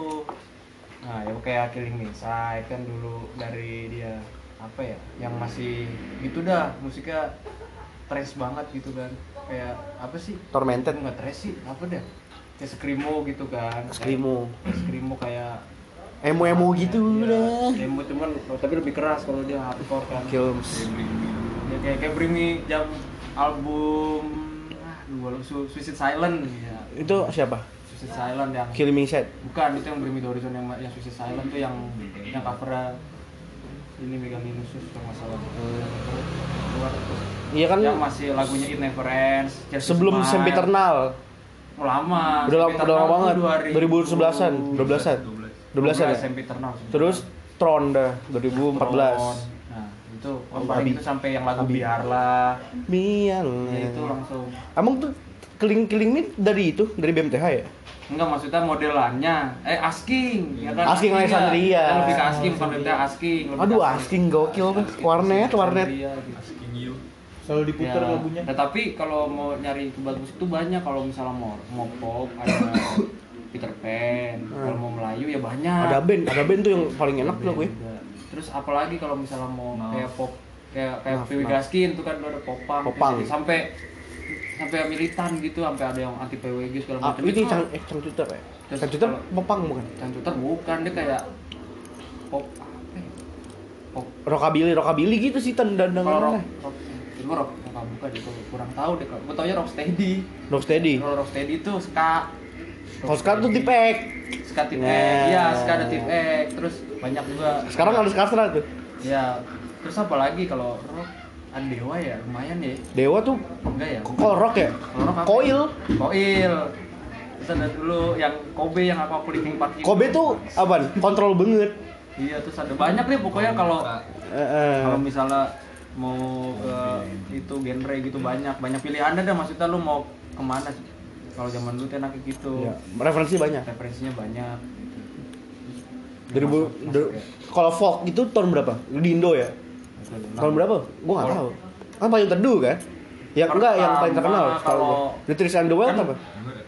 A: nah ya kayak Killing Me Inside kan dulu dari dia apa ya yang masih gitu dah musiknya trash banget gitu kan kayak apa sih
B: Tormented,
A: nggak trash sih apa dah kayak screamo gitu kan
B: Skrimo,
A: kayak, screamo kayak
B: emo-emo gitu
A: Iya,
B: udah.
A: emo cuman oh, tapi lebih keras kalau dia hardcore kan
B: Kilms.
A: ya kayak kayak Bring Me jam album ah, dua lu- Su- Suicide Silent ya
B: Itu siapa?
A: Suicide Silent yang
B: Killing Me Inside.
A: bukan itu yang Bring Me the Horizon yang yang Suicide Silent tuh yang yang covernya ini Megaminus kalau nggak salah Keluar terus.
B: Iya kan
A: yang masih lagunya It Never Ends Just
B: sebelum
A: Smile.
B: Sempiternal.
A: Oh, lama
B: Udah lama,
A: Sempiternal
B: udah lama
A: tuh
B: banget. 2011-an,
A: 2000.
B: 12-an. 12-an ya.
A: Sempiternal
B: Terus Tron dah 2014.
A: nah itu oh,
B: Abi.
A: paling itu sampai yang lagu
B: Abi.
A: biarlah
B: Mian.
A: ya itu
B: iya.
A: langsung
B: Emang tuh keling-keling ini dari itu, dari BMTH ya?
A: Enggak maksudnya modelannya eh asking ya kan
B: Asking Alexandria.
A: Kan lebih ke asking bukan lebih ke asking lebih ke
B: Aduh, asking gokil tuh. Warnet, warnet.
A: Alexandria gitu.
F: selalu diputar
A: Ya.
F: lagunya
A: Nah, tapi kalau mau nyari kebal musik tuh banyak kalau misalnya mau mau pop ada Peter Pan kalau mau Melayu ya banyak
B: Ada band, ada band tuh yang paling enak tuh ya. gue.
A: Iya, terus apalagi kalau misalnya mau kayak pop kayak kayak
B: Maaf,
A: PW
B: maaf.
A: Gaskin tuh kan ada popang,
B: Popang.
A: Jadi sampai sampai militan gitu sampai ada yang anti PWG segala
B: Ah,
A: macam gitu.
B: ini
A: Itu
B: Cang eh Cang Twitter ya.
A: Terus
B: Cang Twitter
A: kalau-
B: Popang bukan?
A: Cangcuter bukan dia kayak pop apa ya? pop
B: Rockabilly, rockabilly gitu sih
A: kalau rock
B: tendangannya.
A: rock itu rock nggak buka deh gua kurang tahu deh kalau gue taunya rocksteady
B: Rocksteady.
A: kalau rocksteady itu ska
B: Kalau sekarang tuh tipek.
A: ska tip
B: Nah.
A: X ya ska ada tip X terus banyak juga
B: Sekarang ada Skastra tuh.
A: ya terus apa lagi kalau rock ada dewa ya lumayan ya
B: Dewa tuh
A: enggak ya
B: kok rock ya?
A: Kalau rock apa?
B: Koil.
A: koil terus ada dulu yang kobe yang apa aku di King Park itu.
B: Kobe tuh apaan? Kontrol banget. Eh,
A: iya terus ada banyak deh pokoknya kalau
B: Heeh.
A: kalau misalnya mau ke itu genre gitu banyak banyak pilihan ada maksudnya lu mau kemana sih kalau zaman dulu tuh enaknya gitu
B: Ya, referensi banyak.
A: referensinya banyak
B: Dari
A: Masuk- masuk ya.
B: kalau folk itu tahun berapa? gitu Di Indo ya? Tahun berapa? Gua nggak tahu. Kan payung teduh kan? Yang enggak yang paling terkenal
A: Pertama,
B: tahu gua.
A: kalau-
B: The Trees and the Wild apa?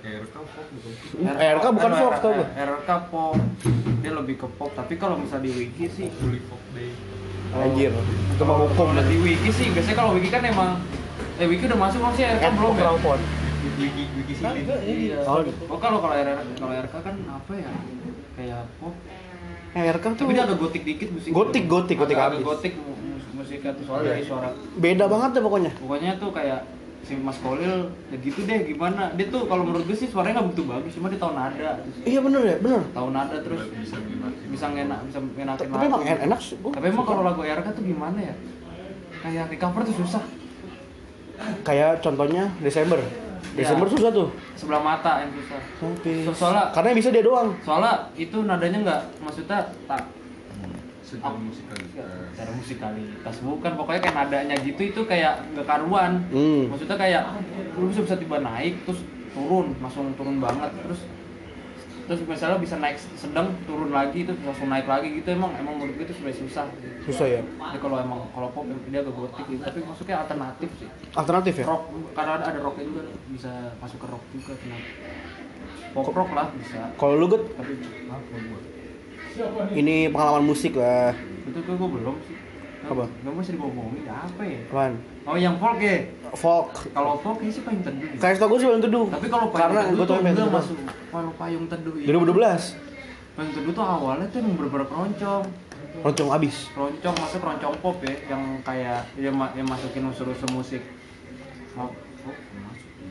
C: Kayak rekam kok gitu.
A: Kan
B: RK Hmm, bukan Fox tau gua.
A: RK Eh, pop dia lebih ke pop tapi kalau misalnya di wiki sih
C: Fully Pop Day.
B: Anjir. Itu mah hukum.
A: kalau lihat di wiki sih biasanya kalau wiki kan emang eh wiki udah masuk masih
B: Kan
A: RK belum ya
C: Wiki Wiki sini.
F: Kagak ini.
A: Iya.
B: Oh.
A: Oh kalau kalau RK kalau RK kan apa ya? Kayak pop.
B: RK Eh, tuh
A: Tapi dia agak gotik dikit musik.
B: Gotik, gotik, gotik
A: agak, agak
B: abis.
A: gotik mu- mus- musiknya tuh soalnya dari suara.
B: beda banget deh pokoknya.
A: Pokoknya tuh kayak si Mas Kolil ya gitu deh gimana. Dia tuh kalau menurut gue sih suaranya nggak begitu bagus, cuma dia tahu nada.
B: Iya bener ya, bener.
A: Tahu nada terus
C: Bisa gimana?
A: bisa ngenak bisa ngenakin
B: Tapi emang en- enak sih. Gua
A: Tapi emang
B: suka.
A: kalau lagu RK tuh gimana ya? Kayak recover tuh susah.
B: kayak contohnya Desember. Desember
A: Iya.
B: susah tuh.
A: Sebelah mata yang susah.
B: Tapi
A: So- soalnya-
B: karena yang bisa dia doang.
A: Soalnya itu nadanya nggak maksudnya tak
C: Secara musikalitas.
A: cara musikalitas bukan pokoknya kayak nadanya gitu itu kayak nggak karuan
B: Hmm.
A: maksudnya kayak lu bisa bisa tiba naik terus turun langsung turun banget terus terus misalnya bisa naik sedang turun lagi terus langsung naik lagi gitu emang emang menurut gue itu sebenarnya susah
B: Susah ya.
A: Jadi kalau emang kalau pop dia agak gotik gitu tapi maksudnya alternatif sih
B: Alternatif ya.
A: rock karena ada, ada rocknya juga bisa masuk ke rock juga kenapa pop rock lah bisa
B: Kalau lu Gut,
A: tapi apa gua
B: ini pengalaman musik lah.
A: itu gue gue belum sih
B: Apa?
A: Gak mau sih dibohongin apa ya?
B: Apaan?
A: Oh yang folk ya?
B: Folk.
A: Kalau folk kayaknya sih payung teduh. ya.
B: Kayak setahu gue sih belum teduh.
A: Tapi kalau payung
B: karena
A: teduh
B: gue
A: tuh
B: tau yang
A: enggak
B: teduh.
A: masuk. Kalau payung teduh itu.
B: 2012.
A: Payung teduh tuh awalnya tuh emang bener-bener keroncong.
B: Roncong abis.
A: Keroncong masuk keroncong pop ya, yang kayak dia ma- yang masukin unsur-unsur musik. Mau oh, masuk.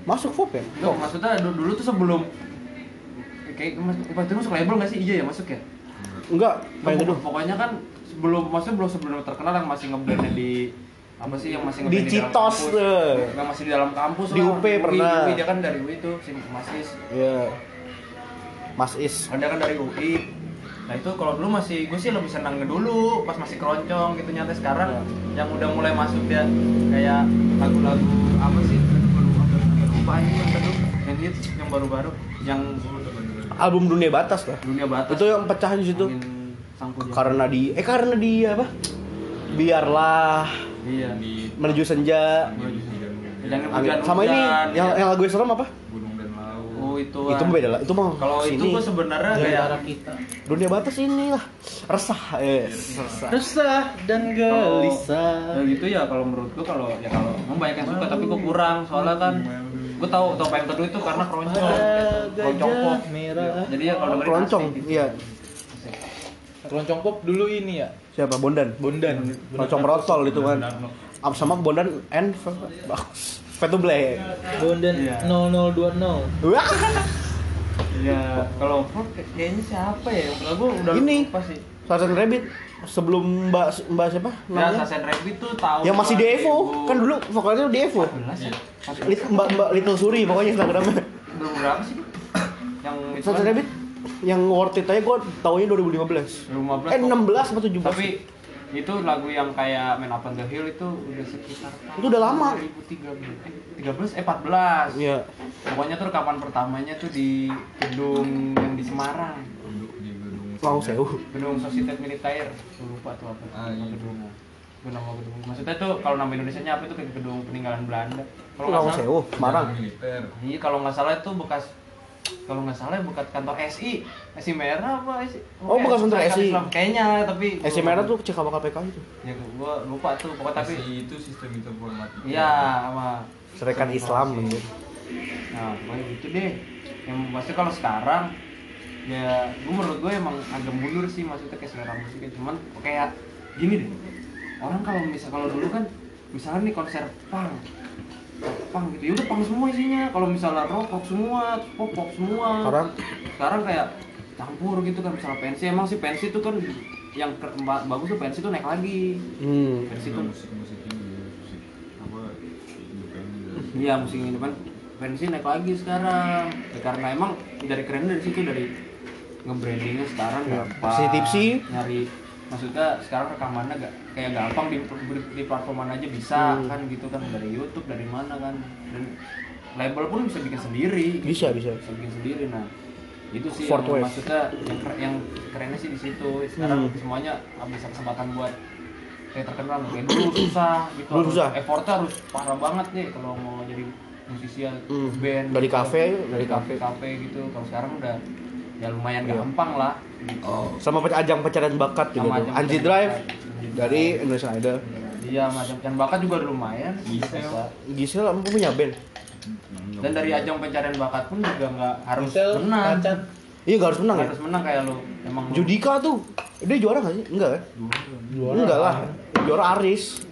B: Masuk folk ya?
A: Enggak, maksudnya du- dulu tuh sebelum kayak mas, Payung Teduh masuk label nggak sih? Iya ya masuk ya.
B: Enggak,
A: Payung
B: payung teduh.
A: Pokoknya kan sebelum maksudnya belum sebelum terkenal yang masih ngebandnya di apa sih yang masih
B: Di
A: ngebandnya dalam
B: Citos
A: kampus.
B: tuh.
A: Yang masih di dalam kampus
B: Di UP pernah.
A: UI, dia kan dari UI tuh si Mas Is.
B: Iya. Mas Is.
A: Anda kan dari UI. Nah itu kalau dulu masih gue sih lebih senang dulu pas masih keroncong gitu nyata sekarang
B: Iya.
A: yang udah mulai masuk dia kayak lagu-lagu apa sih? Baru apa? Kayak lupa aja yang teduh. yang hits yang baru-baru yang
B: Album Dunia Batas lah.
A: dunia batas.
B: Itu yang pecah di situ.
A: Angin Sangku Jawa.
B: Karena di eh karena di apa? Biarlah
A: Iya.
B: menuju senja.
A: Jangan
B: Angin.
A: hujan ya.
B: Sama ini yang yang lagu yang serem apa?
C: Gunung dan laut.
A: Oh itu.
B: Itu
A: ah.
B: beda lah. Itu mah
A: Kalau itu
B: sini.
A: gue sebenarnya
F: Dari
A: kayak
F: arah kita.
B: Dunia Batas inilah resah.
A: Iya,
B: Yes, resah.
F: Resah dan
A: Nah,
F: gelisah.
A: gitu ya kalau menurut gua kalau ya kalau emang banyak yang suka tapi gua kurang soalnya kan gua tahu tahu PM Teduh itu karena keroncong keroncong pop
F: Gajah merah.
A: jadi ya kalau dengerin
B: Keroncong.
A: asik gitu.
B: Iya.
F: Keroncong pop dulu ini ya,
B: Siapa? Bondan.
F: Bondan.
B: Keroncong merotol itu kan. Ab- Sama Bondan and Fetu Black.
F: Bondan
A: Iya.
F: 0020.
B: Wah.
A: iya kalau pop kayaknya siapa ya kalau gua udah
B: Ini.
A: lupa sih
B: Sasan Rabbit sebelum Mbak Mbak siapa?
A: ya
B: Namanya?
A: Sasen Rabbit tuh tahu
B: yang masih Devo kan dulu vokalnya Devo
A: 14 ya
B: Lit- mbak mbak Little Suri pokoknya Instagramnya
A: Udah berapa sih yang itu
B: Sunset
A: kan?
B: Rabbit yang worth it aja gue taunya 2015
A: 2015
B: eh
A: kok.
B: 16 atau 17
A: tapi itu lagu yang kayak Man Up on the Hill itu udah sekitar
B: Itu udah lama.
A: 2013 eh 13 eh 14
B: Iya.
A: Pokoknya tuh rekaman pertamanya tuh di gedung yang di Semarang,
C: Duduk
B: Oh.
C: di gedung.
B: Mau sewu
A: gedung Societet Militair. Gua lupa tuh apa
C: Ah,
A: nama
C: iya.
A: gedungnya. Gua nama gedung. Maksudnya tuh kalau nama Indonesia apa itu kayak gedung peninggalan Belanda. Kalau nggak
B: Mau
A: salah,
B: sewu Semarang
C: Militer.
A: iya kalau nggak salah itu bekas kalau nggak salah bekas kantor SI, SI Merah apa SI?
B: Oh, bekas kantor
A: Syarikat
B: SI.
A: Islam. Kayaknya tapi gua-
B: SC Eh, Merah tuh CKPKPK itu
A: Ya gua lupa tuh
B: Oh,
A: pokoknya tapi
C: Tapi itu sistem informatika.
A: iya sama
B: Serikan Islam gitu.
A: Nah, pokoknya gitu deh. Yang pasti kalau sekarang ya gue menurut gue emang agak mundur sih maksudnya kayak selera musiknya cuman kayak gini deh orang kalau misal kalau dulu kan misalnya nih konser punk punk gitu ya udah punk semua isinya kalau misalnya rock rock semua pop pop semua
B: Sekarang?
A: sekarang kayak campur gitu kan misalnya pensi emang sih pensi itu kan yang ke- ba- bagus tuh pensi tuh naik lagi
B: hmm.
A: pensi
C: Itu
A: tuh
C: musik-musik ini ya, musik apa? independen.
A: Iya musim ini kan pensi naik lagi sekarang Ya, karena emang dari keren dari situ dari ngebrandingnya sekarang
B: Iya,
A: gampang
B: si Tipsy.
A: nyari maksudnya sekarang rekamannya gak kayak gampang di, di platform mana aja bisa kan gitu kan dari YouTube dari mana kan dan label pun bisa bikin sendiri gitu.
B: bisa bisa
A: bisa bikin sendiri nah itu sih
B: Fourth
A: yang
B: wave. Hmm.
A: maksudnya yang, keren- yang kerennya sih di situ sekarang semuanya bisa kesempatan buat kayak terkenal nggak? kayak dulu susah gitu
B: Dulu susah.
A: effortnya harus parah banget deh kalau mau jadi musisi ya,
B: Hmm.
A: band
B: Dari
A: gitu.
B: kafe, dari kafe.
A: kafe gitu kalau sekarang udah ya lumayan
B: Iya.
A: gampang lah Gitu.
G: Oh,
B: sama pe- ajang pencarian bakat juga
A: Sama
B: tuh.
A: ajang
B: Anji
A: pencarian
B: Drive
A: bakat.
B: dari Indonesian Idol
A: iya macam dan bakat juga udah lumayan
C: Bisa.
B: Gisel emang punya band
A: dan dari ajang pencarian bakat pun juga nggak harus
F: Hotel,
A: menang
F: Macan.
B: iya gak harus menang ya
A: harus menang kayak lu emang lu-
B: Judika tuh dia juara gak sih enggak kan enggak lah juara Aris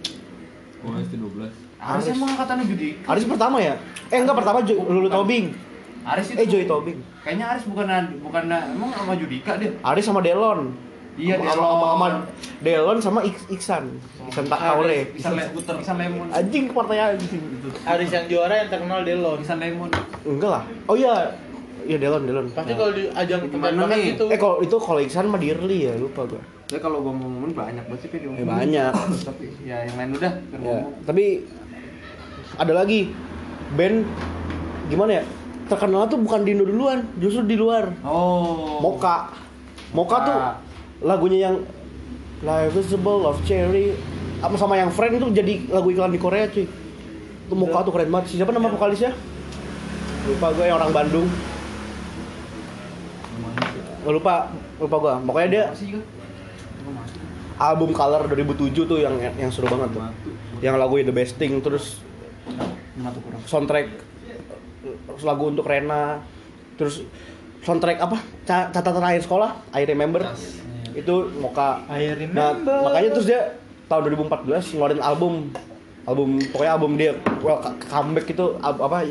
C: Gua SD 12.
A: Aris emang angkatannya Judika
B: Aris pertama ya eh enggak pertama Jo- Lulu Tobing
A: Aris itu
B: eh Joy Tobing
A: kayaknya Aris bukan bukan emang sama Judika deh
B: Aris sama Delon
A: Iya,
B: Sama- sama- sama- sama
A: Delon.
B: Delon sama Ik- Iksan Iksan tak
A: Ah,
B: Kaure
A: bisa le puter bisa lemon
B: anjing kepartanyaan anjing
F: Aris yang juara yang terkenal Delon.
A: bisa lemon
B: enggak lah oh iya iya Delon Delon
F: Pasti kalau di ajang
A: Gimana
F: tempat makan
A: nih?
F: gitu.
B: eh kalau itu kalau Iksan mah Dirli ya lupa gua
A: ya kalau gua mau ngomongin banyak banget sih Pi, diomongin.
B: Eh, banyak.
A: tapi ya yang lain udah biar
B: Ya,
A: ngomong
B: tapi ada lagi band gimana ya? Terkenal tuh bukan di Indo duluan, justru di luar.
A: oh
B: Moka. Moka tuh
A: Ah.
B: lagunya yang Life is a Bowl of Cherry sama sama yang Friend tuh jadi lagu iklan di Korea cuy. Itu Moka tuh keren banget. Siapa nama vokalisnya? Lupa gue yang orang Bandung. Lupa, lupa gue. Pokoknya dia
A: masih juga masih
B: album Color 2007 tuh yang yang seru banget tuh. Yang lagu The Best Thing terus
A: cuma tuh kurang
B: soundtrack eh, lagu untuk Rena terus soundtrack apa Ca- catatan akhir sekolah I remember itu Moka
F: I
B: nah
F: remember.
B: makanya terus dia tahun 2014 ngeluarin album album pokoknya album dia well, ka- comeback itu ab- apa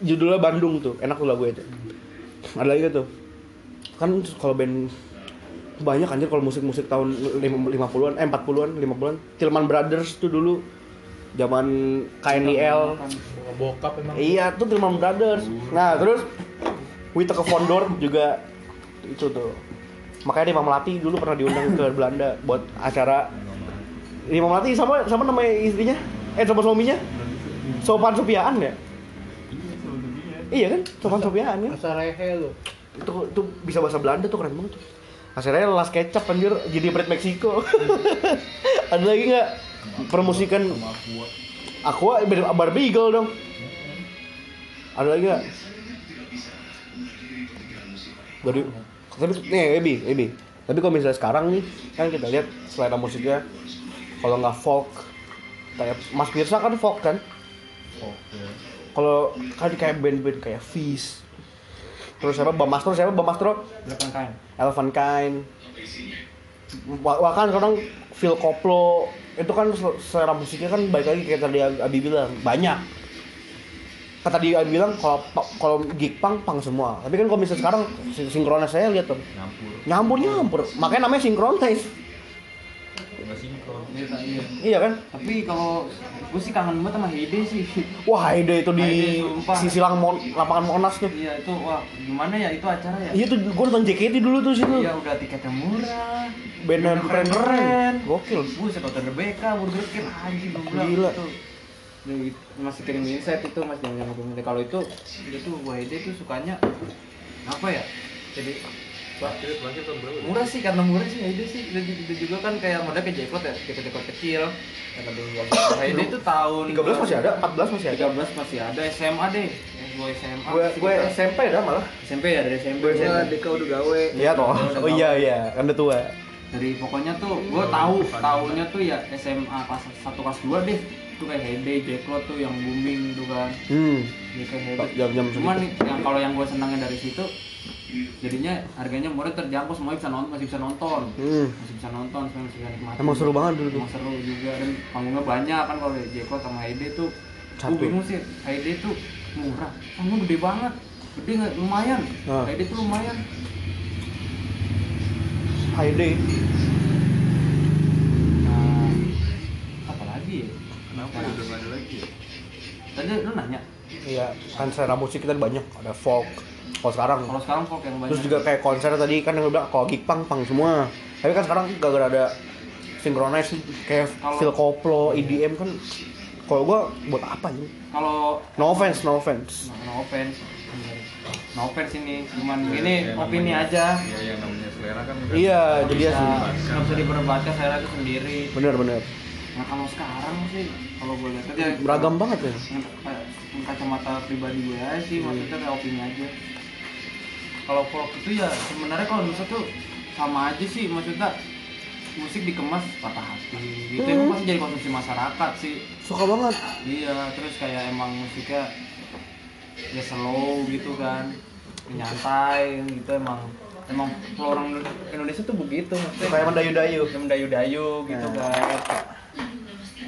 B: judulnya Bandung tuh enak tuh lagu itu ada lagi tuh kan kalau band banyak anjir kalau musik-musik tahun lim- 50-an eh 40-an 50-an Tilman Brothers tuh dulu zaman KNIL
F: bokap emang.
B: Iya, tuh Gilmore Brothers. Nah, terus Wita ke Fondor juga itu tuh. Makanya Rima Melati dulu pernah diundang ke Belanda buat acara Rima Melati sama sama namanya istrinya? Eh sama suaminya? Sopan Sopiaan ya? Iya kan? Sopan Sopiaan ya?
F: Asal rehe lu.
B: Itu itu bisa bahasa Belanda tuh keren banget tuh. Akhirnya las kecap anjir jadi bread Meksiko. Ada lagi nggak permusikan
C: Sama aku.
B: Aqua bar, bar Beagle dong. Ada lagi nggak? Dari tapi nih Ebi, Ebi. Tapi kalau misalnya sekarang nih, kan kita lihat selera musiknya kalau nggak folk kayak Mas Pirsa kan folk kan?
C: Oke.
B: Kalau kan kayak band-band kayak Fish. Terus siapa Bamastro? Siapa Bamastro?
A: belakang kain
B: Elephantine Wah wah kan sekarang Phil Koplo itu kan sel- selera musiknya kan baik lagi kayak tadi Abi bilang banyak kata dia Abi bilang kalau pa- kalau gig punk punk semua tapi kan kalau misalnya sekarang sin- sinkronis saya lihat tuh
C: Nyampur.
B: nyampur nyampur makanya namanya sinkronis
C: Enggak sinkron.
A: Iya, tak, iya.
B: iya kan
A: tapi kalau gue sih kangen banget sama Hide sih
B: wah ide itu di
A: Haide, sumpah.
B: sisi lang mon, lapangan Monas tuh
A: Iya itu wah gimana ya itu acara ya?
B: iya tuh gue nonton JKT dulu tuh situ
A: Iya udah tiketnya murah.
B: band yang keren keren gokil
A: Buset Hotel Rebecca, Burger King anjing gue bilang gitu.
B: Gila.
A: itu. Nih, masih kirim insight itu Mas jangan jangan ngomongin. Kalau itu itu Wahide itu sukanya apa ya? Jadi
C: Terakhir terakhir tahun berapa?
A: murah sih karena murah sih Wahide sih dan itu juga kan kayak modal ke jackpot ya jackpot kecil karena dulu Wahide itu tahun
B: 13 masih ada 14 masih ada
A: 13 masih ada SMA deh gue SMA
B: gue gue SMP dah malah
A: SMP ya dari SMP
B: Gua
A: Gua
B: SMP.
A: Deka udah gawe
B: Iya toh.
A: Udah
B: Oh
A: gawe.
B: iya iya, kan udah tua.
A: dari pokoknya tuh gue tahu tahunya tuh ya SMA kelas satu kelas dua deh itu kayak Heyday, Jacklot tuh yang booming tuh kan
B: Hmm.
A: Dia kayak Heyday.
B: Jam-jam
A: cuman nih yang kalau yang gue senangnya dari situ jadinya harganya murah terjangkau semuanya bisa nonton masih bisa nonton
B: Hmm.
A: masih bisa nonton semuanya masih bisa nikmati
B: Emang seru banget dulu tuh.
A: emang seru juga dan panggungnya banyak kan kalau dari Jacklot sama Heyday tuh gue
B: Satu.
A: bingung sih Heyday tuh murah panggung gede banget gede nggak lumayan
B: Ah.
A: Heyday tuh lumayan
B: ID.
A: nah apa lagi ya
C: Kenapa udah nggak ada lagi? ya?
A: tadi lu nanya
B: Iya, kan selera musik kita banyak, ada folk. Kalau sekarang
A: kalau sekarang folk yang banyak
B: terus juga kayak konser tadi kan yang gue bilang kalau gig pang pang semua. Tapi kan sekarang gara-gara ada synchronize kayak
A: Kalau-
B: Phil Koplo, EDM kan kalau gua buat apa ya?
A: kalau
B: No offense, no offense.
A: no, no offense no offense ini cuman
C: Ya,
A: ini
C: yang
A: opini
C: namanya-
A: aja
C: Iya, yang namanya selera kan.
B: Iya, jadi ya
A: bisa nggak bisa diperbaca saya itu sendiri
B: bener bener.
A: Nah kalau sekarang sih, kalau gue lihat ya
B: beragam banget ya
A: Yang kacamata pribadi gue aja sih, maksudnya kayak opini aja. Kalau folk itu ya sebenarnya kalau nusa tuh sama aja sih, maksudnya musik dikemas patah hati gitu emang pasti jadi konsumsi masyarakat sih
B: suka banget
A: iya terus kayak emang musiknya ya slow gitu kan nyantai gitu emang emang orang Indonesia tuh begitu maksudnya
B: kayak mendayu-dayu
A: yang dayu-dayu gitu
F: Nah.
A: kan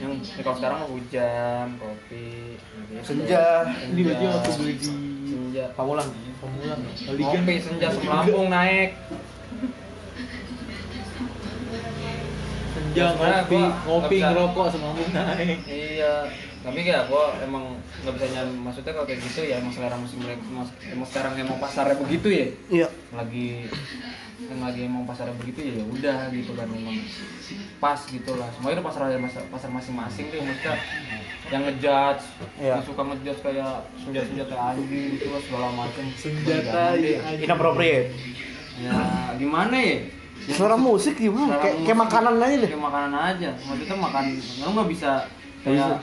A: yang ya kalau sekarang mah hujan kopi gitu.
B: senja
F: Ini berarti waktu gue di
A: senja
F: Pamulang Pamulang Liga
A: kopi senja semelampung naik
F: Senja
A: Sebenarnya
F: ngopi
A: gua
F: Ngopi
A: nggak bisa-
F: ngerokok semanggung naik
A: iya tapi ya gua emang nggak bisa nyan maksudnya kalau kayak gitu ya emang selera musik mereka mas- emang sekarang emang pasarnya begitu ya
B: iya
A: lagi yang lagi emang pasarnya begitu ya ya udah gitu kan memang pas gitu lah semuanya itu pasar pasar pasar masing-masing tuh maksudnya yang ngejudge
B: Iya.
A: yang suka ngejudge kayak senjata senjata anjing gitu lah segala macam
F: Senjata ya anjing.
B: inappropriate
A: ya gimana ya Ya,
B: selera musik
A: selera
B: gimana hmm, kayak kayak
A: musik.
B: makanan aja deh
A: kayak makanan aja maksudnya makan lu nggak bisa
B: Nggak bisa.
A: kayak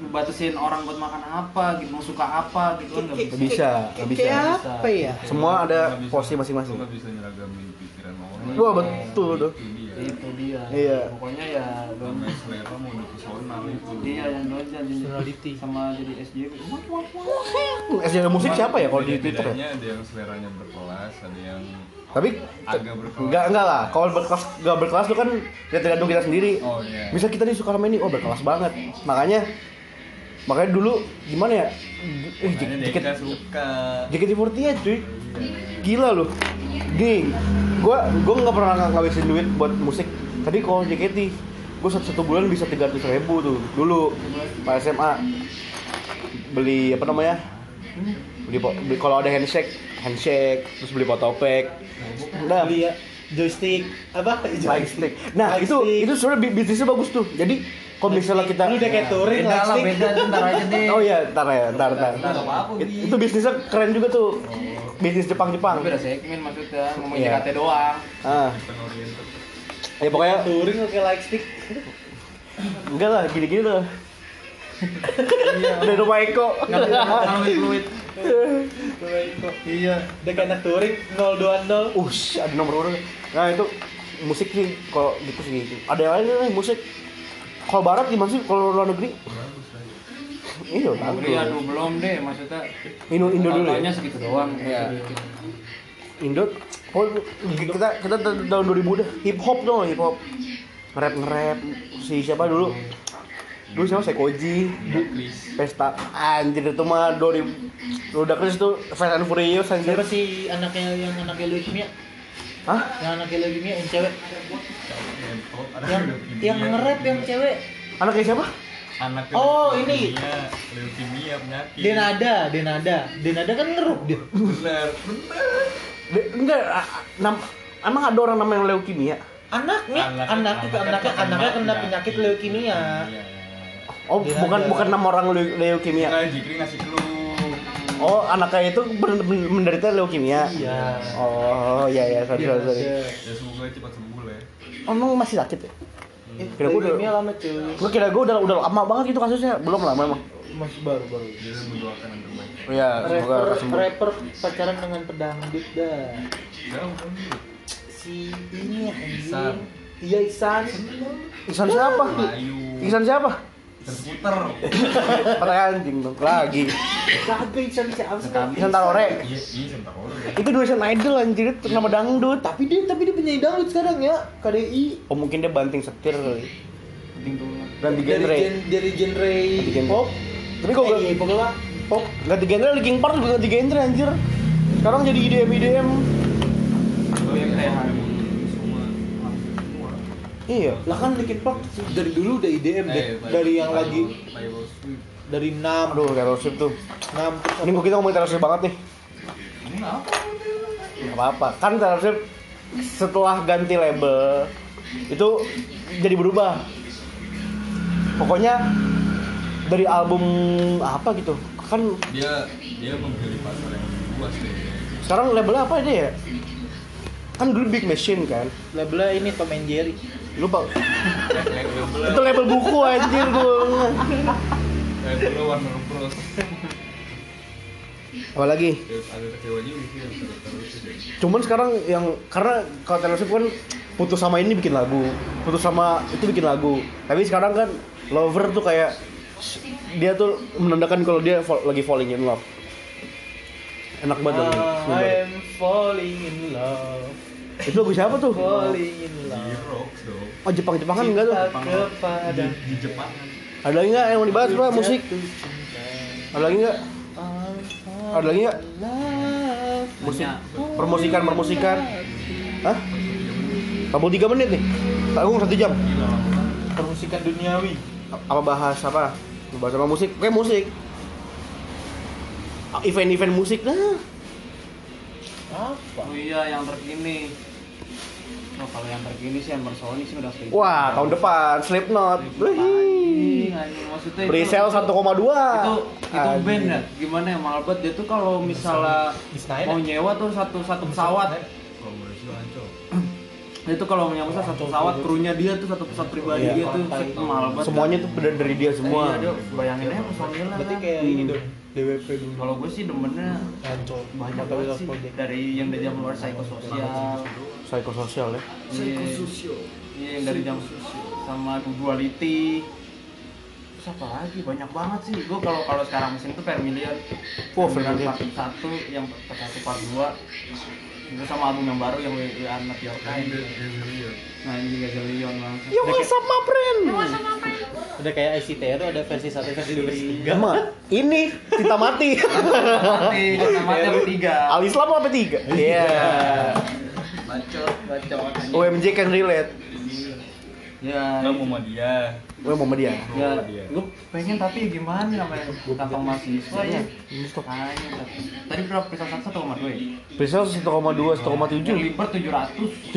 A: batasin orang buat makan apa gitu mau suka apa gitu kan nggak bisa
B: Nggak bisa nggak bisa
A: apa ya
B: semua ada
C: Nggak bisa-
B: porsi
C: lu
B: masing-masing
C: nggak bisa nyeragamin pikiran orang
B: wah betul tuh
C: Itu dia.
A: itu dia
B: Iya.
A: pokoknya ya
C: Namanya selera mau personal itu
A: Iya yang dojan
F: Personality.
A: sama jadi SJW. Wah, wah, wah.
B: SJW musik siapa ya kalau di Twitter ya
C: Bedanya ada yang seleranya berkelas, ada yang
B: tapi
C: agak berkelas.
B: enggak enggak lah kalau berkelas enggak berkelas tuh kan ya tergantung kita sendiri
C: Oh iya.
B: bisa kita nih suka sama ini oh berkelas banget makanya makanya dulu gimana ya eh
C: Makanya
B: dikit
C: Deka suka.
B: JKT48 cuy gila lu gini gua gua nggak pernah ng- ngabisin duit buat musik tapi kalau JKT gua satu, satu bulan bisa 300 ribu tuh dulu pas SMA beli apa namanya beli, po- beli kalau ada handshake handshake terus beli potopek udah
F: Beli ya joystick apa Iya.
B: lightstick nah itu itu sebenarnya bi- bisnisnya bagus tuh jadi kalau misalnya kita
F: lu udah kayak touring
A: Beda lah,
F: lightstick
A: beda ntar aja deh.
B: Oh iya, ntar ya, ntar, ntar.
A: Ntar apa-apa,
B: It-
A: Gi.
B: Itu bisnisnya keren juga tuh. Bisnis Jepang-Jepang.
A: Tapi udah segmen maksudnya ngomongin
B: Iya.
A: JKT doang.
B: Ah, ya pokoknya
F: touring lu kayak lightstick
B: enggak lah, gini-gini tuh. Udah rumah Eko.
A: Ngambil duit.
F: iya udah kayak anak touring 020
B: Ush, ada nomor urut. Nah itu musik sih, kalau gitu sih. Ada yang lain nih musik. Kalau barat gimana sih? Kalau luar negeri? Iya, bagus.
A: Iya, aduh belum deh maksudnya.
B: Indo, Indo dulu
A: Contohnya
B: ya.
A: segitu doang. Iya.
B: Indo. Oh, kita kita t- tahun 2000 dah. Hip hop dong, hip hop. Nge-rap nge-rap si siapa dulu? Dulu siapa Sekoji,
C: Iya.
B: Pesta anjir itu mah 2000 Luda Chris tuh Fast and Furious anjir.
F: siapa sih anaknya yang anaknya leukemia
B: Hah?
F: yang anaknya leukemia yang cewek
C: oh,
F: yang yang nge-rap yang cewek
B: Anaknya siapa?
C: Anak
F: Oh, ini.
C: leukemia, leukemia
F: Iya.
C: penyakit.
F: Denada, Denada, Denada kan ngeruk dia.
C: Bener, bener.
B: De- enggak a- a- nam- emang ada orang namanya leukemia?
F: Anaknya, anaknya, anaknya, anaknya, kena penyakit leukemia.
C: Iya.
B: Oh,
F: Dia
B: bukan
F: Iya, ada. Iya.
B: bukan nama orang leu- leukemia.
C: Nah, Jikri ngasih clue.
B: Oh, anaknya itu bener- bener- menderita leukemia.
F: Iya.
B: Oh, iya ya, sorry sorry. sorry.
F: Denada.
C: Ya semoga cepat sembuh lah ya.
B: Emang masih sakit ya? Kira gua udah-
F: Leukemia lama cuy.
B: Gue kira gue udah udah lama banget gitu kasusnya. Belum lama emang.
F: Masih baru baru.
C: Jadi mendoakan yang terbaik.
F: Oh,
B: Iya,
F: Rapper, rapper pacaran dengan pedangdut dah.
C: Jauh kan dulu.
F: Si ini ya,
C: Ihsan.
F: anjing. Iya Iksan.
B: Iksan siapa?
C: Melayu.
B: Iksan siapa?
C: Terputer.
B: Kata anjing dong. Lagi.
F: Kagak Iksan siapa sih?
B: Iksan Tarore.
C: Iya, iya sampai orang.
B: Itu dua Iksan Idol anjir, itu nama dangdut.
F: Tapi dia tapi dia penyanyi dangdut sekarang ya KDI.
B: Oh mungkin dia banting setir kali.
A: Penting tuh.
B: Ganti
F: Dari
B: genre.
F: gen, dari genre
B: Ganti genre.
F: pop.
B: Tapi kok
F: Eh, iya, pokoknya lah.
B: pop ganti genre lagi King Park juga ganti genre anjir. Sekarang jadi IDM IDM.
C: Oh,
B: Iya.
F: Lah kan Linkin Park dari dulu udah IDM
C: Eh,
F: deh. Eh, Dari yang lagi dari 6
B: Aduh, Taylor Swift tuh.
F: 6 terus
B: Ini kok kita ngomongin Taylor Swift banget nih. Nggak apa-apa. Kan Taylor Swift setelah ganti label itu jadi berubah. Pokoknya dari album apa gitu. Kan
C: Dia dia menggali pasar yang luas deh.
B: sekarang labelnya apa dia ya? kan dulu Big Machine kan
F: Labelnya ini Tom and Jerry.
B: lu pak itu label buku anjir gua
C: Kayak dulu Warner Bros.
B: apalagi
C: Terus ada kecewa juga sih yang terus terus.
B: cuman sekarang yang karena kalau Taylor Swift kan putus sama ini bikin lagu putus sama itu bikin lagu tapi sekarang kan lover tuh kayak dia tuh menandakan kalau dia fall- lagi falling in love enak banget lagu
F: Ah,
B: ini, sebenarnya.
F: I'm falling in love,
B: itu lagu siapa tuh
F: falling in
C: Di
F: love.
C: rock dong.
B: oh Jepang
F: Kan
B: Jepangan enggak tuh
F: Cinta kepada
C: Di Jepang kan.
B: ada lagi nggak yang mau dibahas Pak, musik
F: jatuh cinta.
B: ada lagi nggak
F: I'm
B: ada lagi nggak
F: love.
B: musik permusikan permusikan Hah? 43 menit nih tanggung satu jam
F: Permusikan duniawi.
B: apa bahas apa bahas sama musik oke musik event-event musik nah
F: Apa?
A: Oh iya yang terkini. Oh kalau yang terkini sih Emerson Sony sih udah selesai.
B: wah tahun depan Slipknot Wih.
A: Maksudnya itu-
B: pre-sale 1,2
A: itu itu
B: Anjing.
A: band ya gimana ya mahal banget dia tuh kalau misalnya
F: Disnain,
A: mau
F: ya?
A: nyewa tuh satu satu pesawat
C: Kalau boleh sih ancol.
A: dia tuh kalau mau nyewa satu pesawat krunya dia tuh satu pesawat pribadi
B: Iya.
A: dia tuh set- mahal banget Eh,
B: semuanya tuh bener dari dia semua
A: iya, dia bayanginnya personilnya
F: Berarti
A: kan.
F: kayak ini dong. DWP dulu.
A: kalau gue sih demennya
F: Kacau.
A: banyak
F: Mata
A: banget
F: Wheels
A: sih
F: Project.
A: dari yang dari zaman luar psikososial
B: psikososial ya
A: psikososial iya yang dari jam sama duality terus apa lagi banyak banget sih gue kalau kalau sekarang mesin tuh Vermilion
B: Wah,
A: Vermilion part
B: Vermilion.
A: satu yang part satu part dua itu sama album yang baru yang We Are Not Your Kind nah ini Gazillion banget
B: yo Ya, what's up my friend
F: Udah kayak ICT itu ada versi satu versi dua versi
A: Iya,
F: tiga.
B: Gama, Iya, ini kita mati
A: mati sama ada bertiga
B: Al Islam apa tiga iya
A: bacot bacot
B: UMJ can relate
A: ya
C: Enggak mau dia.
B: gue mau dia
A: ya gue pengen tapi gimana namanya kantong mahasiswa ya Tanya, tadi berapa pesan satu satu sama dua ya?
B: pre-sale 1,2
A: Yang
B: 1,7
A: liber tujuh ratus
B: 750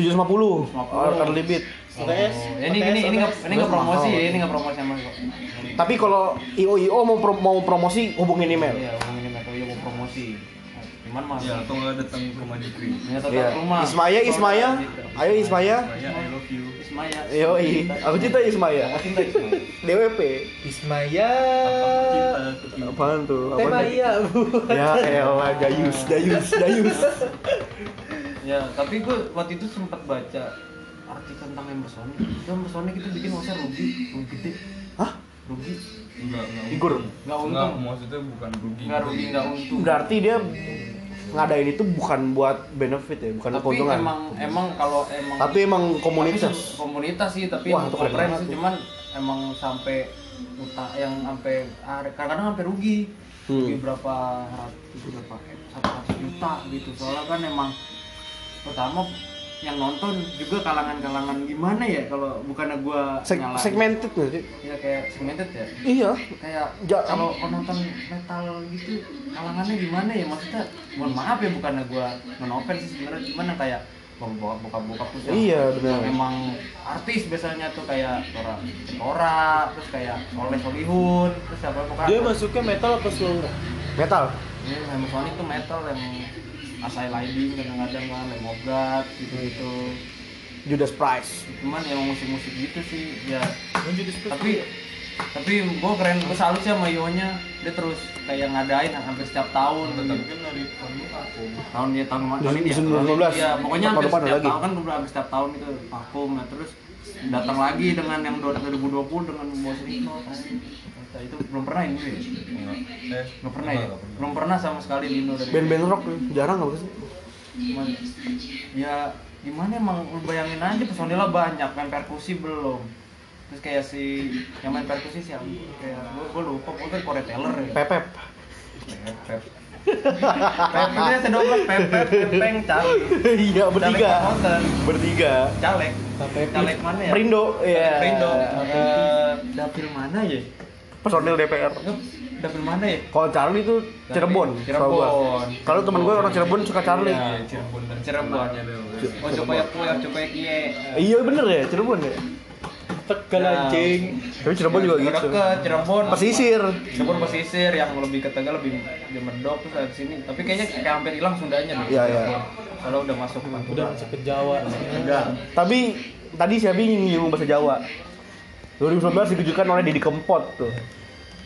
B: early beat
F: UTS.
A: Oh, ini ini ini nggak ini nggak promosi ya ini nggak promosi sama kok
B: Iya. Tapi kalau IO IO mau pro- mau promosi hubungin email.
A: iya ngomong ini atau iya mau promosi Nah, cuman mas
C: Ya, atau nggak datang ke rumah Jikri.
A: ya
B: Iya.
A: tetap rumah gitu.
B: Ismaya Ismaya. Ayo Ismaya.
C: Saya I love you.
A: Ismaya
B: Yo Aku cinta Ismaya.
A: Aku cinta Ismaya
B: DWP.
F: Ismaya.
B: Apaan tuh?
F: Tema
B: Apaan?
F: iya bu.
B: Ya elah Gayus, Gayus, Gayus.
A: ya tapi gue waktu itu sempat baca artikel tentang Emersonic itu Emersonic itu bikin masa rugi rugi gede
B: Hah?
A: rugi
C: Enggak, enggak.
B: Figur.
A: nggak
C: Enggak,
A: untung
C: maksudnya bukan rugi.
A: nggak rugi nggak untung
B: Berarti dia ngadain itu bukan buat benefit ya, bukan
A: tapi
B: keuntungan.
A: emang emang kalau emang
B: Tapi emang
A: Tapi se-
B: komunitas.
A: komunitas sih tapi
B: Wah,
A: yang
B: itu keren
A: keren
B: banget
A: sih,
B: tuh.
A: cuman emang sampai utang yang sampai ah, kadang-kadang sampai rugi
B: Hmm.
A: rugi berapa ratus berapa eh, satu ratus juta gitu soalnya kan emang pertama yang nonton juga kalangan-kalangan gimana ya kalau bukannya gua
B: Seg-
A: nyalain.
B: segmented nggak sih?
A: ya kayak segmented ya
B: Iya.
A: kayak
B: Ja-
A: kalau penonton metal gitu kalangannya gimana ya maksudnya mohon maaf ya bukan gua non sih sebenarnya cuman yang kayak bawa buka buka tuh yang-
B: Iya, benar.
A: yang emang artis biasanya tuh kayak Tora Tora terus kayak Soleh Solihun terus siapa pokoknya
B: Iya,
F: Dia masuknya metal apa slow?
B: Metal.
A: ini Hamilton itu metal yang asai lighting kadang-kadang kan lemogat gitu gitu
B: Judas Price.
A: cuman yang musik-musik gitu sih ya
F: Lanjut diskusi.
A: tapi tapi gue keren gue salut sih sama Ionya dia terus kayak ngadain hampir setiap tahun
C: Tetap kan dari kamu aku.
A: tahun dia tahun tahun ini ya
B: 2019.
A: Iya, pokoknya
B: Tahun
A: hampir
B: depan
A: setiap
B: ada lagi.
A: tahun kan gue hampir setiap tahun itu vakum nah terus datang lagi dengan yang 2020 dengan bos Rino Nah, itu belum pernah ini ya?
C: Enggak. Eh,
A: belum pernah ya
C: enggak pernah.
A: belum pernah sama sekali di Indo dari
B: Band-band rock jarang nggak sih?
A: Cuman, ya gimana emang lu bayangin aja personilnya banyak main perkusi belum terus kayak si yang main perkusi siapa kayak gue, gue lupa gue kan Corey Taylor ya
B: Pepep.
C: Pepep.
A: Pep itu yang sedomplak Pep Pep Pepeng Cali
B: Iya, bertiga.
A: Caleg Promoter.
B: Bertiga.
A: Caleg Caleg mana ya?
B: Perindo,
A: Caleg
B: iya.
A: Perindo Eh, Dapil mana ya?
B: Personil DPR.
A: Lu Dapil mana ya?
B: Kalau Charlie itu Cirebon, setahu gua.
A: Cirebon.
B: Kalau temen gue orang Cirebon suka Charlie.
A: Iya,
C: Cirebon dan
A: Cirebon
C: Cirebon.
A: Oh coba ya, coba ya, coba ya, iya.
B: Iya bener ya, Cirebon ya.
F: Tegal
A: Nah.
F: anjing.
B: Tapi Cirebon juga
A: Yang Iya,
B: gitu.
A: Deket, Cirebon.
B: Pesisir.
A: Cirebon pesisir yang lebih ke Tegal lebih di Medok terus ada di sini. Tapi kayaknya kayak hampir hilang Sundanya nih.
B: Iya, iya.
A: Kalau udah masuk ke Pantura.
F: Udah masuk ke Jawa.
G: Tegal.
B: Tapi tadi saya bingung nyinggung bahasa Jawa. 2019 ditujukan oleh Didi Kempot tuh.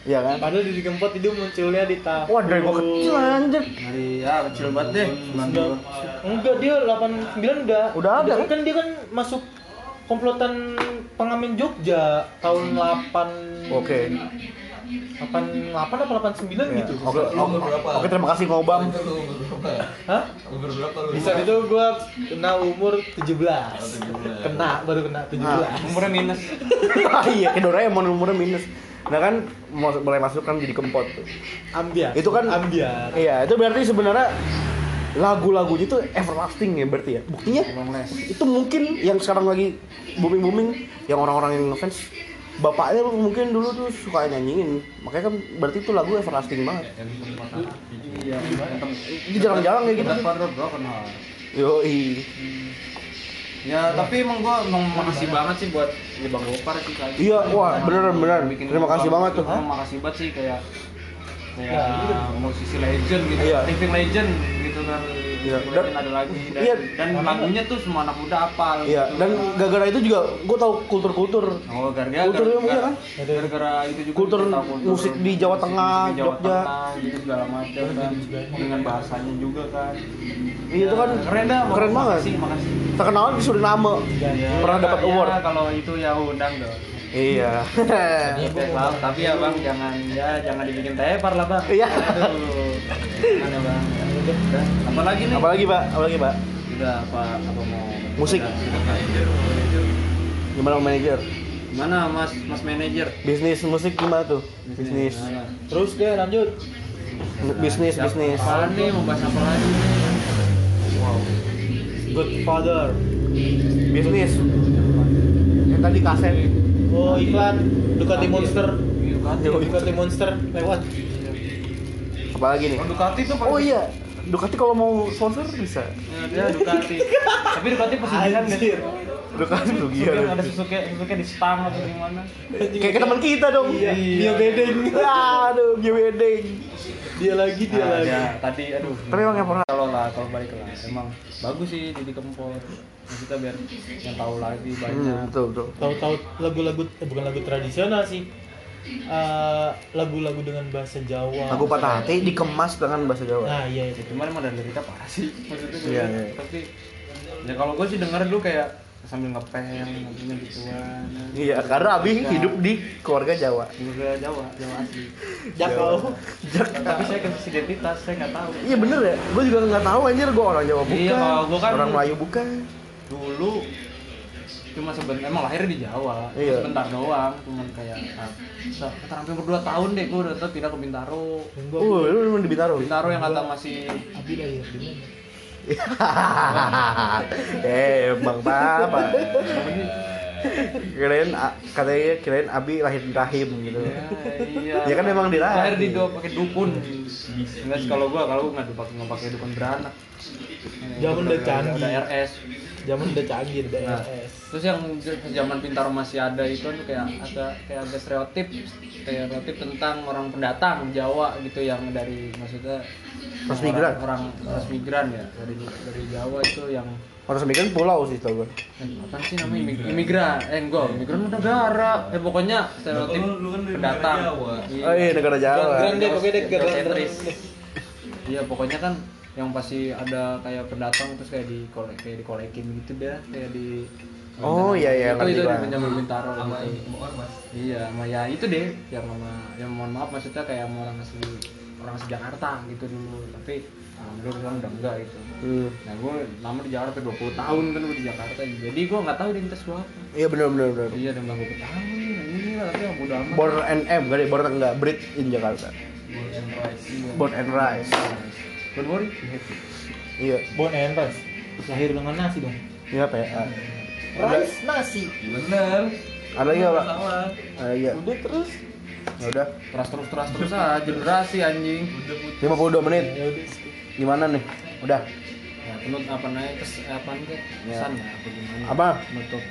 B: Iya kan?
F: Padahal di Gempot itu munculnya di tahun.
B: Wah, dari gua kecil anjir.
A: Dari ya kecil banget deh.
F: Enggak, enggak dia 89 udah
B: Udah ada, kan?
F: kan dia kan masuk komplotan pengamen Jogja tahun 8
B: Oke.
A: Iya.
F: 88 apa 89
B: Ya,
F: gitu.
B: Oke, oke, oke, terima kasih Ngobam.
F: Hah? Bisa itu gua kena umur 17. Kena baru kena 17.
A: Umurnya minus.
B: Ah, iya, kayak Doraemon umurnya minus. Nah kan mau mulai masuk kan jadi kempot tuh.
F: Ambiar.
B: Itu kan-
F: ambiar.
B: Iya, itu berarti sebenarnya lagu-lagunya itu everlasting ya berarti ya. Buktinya itu mungkin yang sekarang lagi booming-booming yang orang-orang yang ngefans bapaknya mungkin dulu tuh suka nyanyiin. Makanya kan berarti itu lagu everlasting banget.
A: Iya.
B: Itu jarang-jarang kayak gitu.
A: Kita partner broken heart.
B: Yoi.
A: Ya tapi emang gua emang makasih banget sih buat ya Bang Gopar sih kali.
B: Iya, wah, bener, bener. Terima kasih banget tuh.
A: Emang makasih banget sih kayak kayak musisi legend gitu,
B: Iya.
A: living legend gitu kan.
B: Iya,
A: Kemudian
B: dan-
A: ada lagi dan,
B: iya.
A: dan lagunya tuh semua anak muda apal.
B: Iya,
A: gitu
B: dan
A: kan.
B: gara-gara itu juga gue tahu kultur-kultur
A: Oh, gara-gara
B: Kultur
A: gara-
B: iya kan?
A: gara-gara itu juga
B: Kultur
A: kita tahu
B: musik di Jawa
A: musik
B: Tengah,
A: di Jawa
B: Jogja.
A: Tengah, gitu segala macam kan dengan bahasanya juga kan.
B: Iya, itu kan
A: keren dah.
B: keren banget.
A: Makasih, makasih.
B: terkenal di Suriname. Pernah
A: Ya,
B: dapat
A: ya,
B: award.
A: Kalau itu ya undang dong.
B: Iya.
A: Oke, Bang. tapi ya bang jangan ya jangan dibikin tepar lah bang.
B: Iya.
A: Aduh, gimana ya, bang? Udah, Apalagi nih?
B: Apalagi Pak, apalagi Pak.
A: Udah apa apa mau?
B: Musik. Gimana manajer?
A: Mana mas mas manajer?
B: Bisnis musik gimana tuh? Bisnis.
A: Mana?
F: Terus deh lanjut.
B: Bisnis, bisnis.
A: Apaan nih mau bahas apa lagi? nih?
F: Godfather.
B: Bisnis. Yang tadi kaset.
F: Oh, iklan Ducati
A: Ambiar.
F: Monster.
A: Ducati.
F: Ducati Monster lewat.
B: Apalagi nih?
A: Oh, Ducati tuh paling-
B: Oh iya, Ducati kalau mau sponsor bisa.
A: Ya, Dia Ducati. Tapi Ducati pesugihan nggak sih?
B: Iya,
F: Anjir.
B: Ducati rugi
A: Pesugihan ada Suzuki Suzuki di stang atau gimana?
B: kan Kayak ke teman kita dong.
F: Iya, dia bedeng.
B: Aduh, dia bedeng.
F: Dia lagi, dia
A: Nah,
F: Iya lagi.
A: ya, tadi aduh.
B: Tapi emang yang pernah
A: kalau lah kalau balik lah emang bagus sih jadi kempot kita biar yang tahu lagi
B: Hmm,
A: banyak
B: betul, betul.
F: tahu-tahu lagu-lagu eh, bukan lagu tradisional sih Eh, lagu-lagu dengan bahasa Jawa
B: Lagu patah hati dikemas dengan bahasa Jawa.
F: nah iya itu
A: cuman emang dari kita parah sih maksudnya
B: Hmm. Iya,
A: gua-
B: iya.
A: tapi ya kalau gue sih denger dulu kayak sambil ngepel ngobrolnya gituan
B: Iya, karena Abi hidup di keluarga Jawa.
A: juga Jawa Jawa asli
B: Oh.
F: Jakau
B: Ya.
A: tapi saya krisis identitas saya nggak tahu
B: Iya bener ya, gue juga nggak tahu anjir gue orang Jawa bukan,
A: Iya, kalau gua kan-
B: orang Melayu bukan.
A: dulu cuma sebentar emang lahir di Jawa
B: Iya.
A: sebentar doang cuman kayak ah, sekitar hampir berdua tahun deh gue udah tuh pindah ke Bintaro
B: Uh, lu memang di Bintaro.
A: Bintaro yang kata masih
F: Abi lahir di mana?
B: eh, bang apa? kirain A- katanya kirain Abi lahir di rahim gitu.
A: iya.
B: Ya kan emang dirahang.
A: Lahir di dua pakai dukun. Enggak kalau gua kalau gua enggak pakai enggak pakai dukun beranak. Eh,
F: Zaman udah canggih.
A: Udah RS.
F: zaman udah canggih udah
A: Nah,
F: RS
A: terus yang z- zaman pintar masih ada itu kan kayak ada kayak ada stereotip stereotip tentang orang pendatang Jawa gitu yang dari maksudnya
B: Pas
A: orang-
B: migran.
A: orang pas migran ya dari dari Jawa itu yang
B: Orang Sembilan pulau sih tau gue.
A: Eh, apa sih namanya imig- imigran eh enggak imigran mah negara eh pokoknya stereotip pendatang
B: Oh iya negara
F: Grand
B: Jawa.
F: deh pokoknya deh grand grand
A: Geosentris.
F: deh.
A: iya pokoknya kan yang pasti ada kayak pendatang terus kayak di kayak dikolekin gitu deh kayak di
B: Oh iya iya
A: itu
B: ngerti
A: itu di
B: Bang.
A: Benjamin Bintaro gitu. iya sama ya itu deh yang sama yang mohon maaf maksudnya kayak sama orang asli orang asli Jakarta gitu dulu tapi alhamdulillah sekarang udah enggak gitu
B: Hmm.
A: nah gue lama di Jakarta 20 tahun kan gue di Jakarta jadi gue nggak tahu identitas gue apa
B: Iya benar benar benar.
A: iya udah berapa tahun ini lah tapi yang bodo amat
B: Born and M kali, born enggak, breed in Jakarta. Born and rise.
A: Don't worry, be happy.
B: Iya,
F: Bon and rice lahir dengan nasi dong
B: iya PA.
F: rice nasi
A: Bener.
B: Ada lagi nggak, Pak?
A: Sama.
B: Ada lagi nggak?
F: udah terus
B: Ya udah,
A: Terus terus terus terus aja durasi anjing.
B: 52 menit.
F: ya udah
B: Gimana nih? Udah.
A: Ya, penut apa naik kes apa nih?
B: Ya.
A: Pesan ya apa gimana?
B: Apa?
A: Penutup.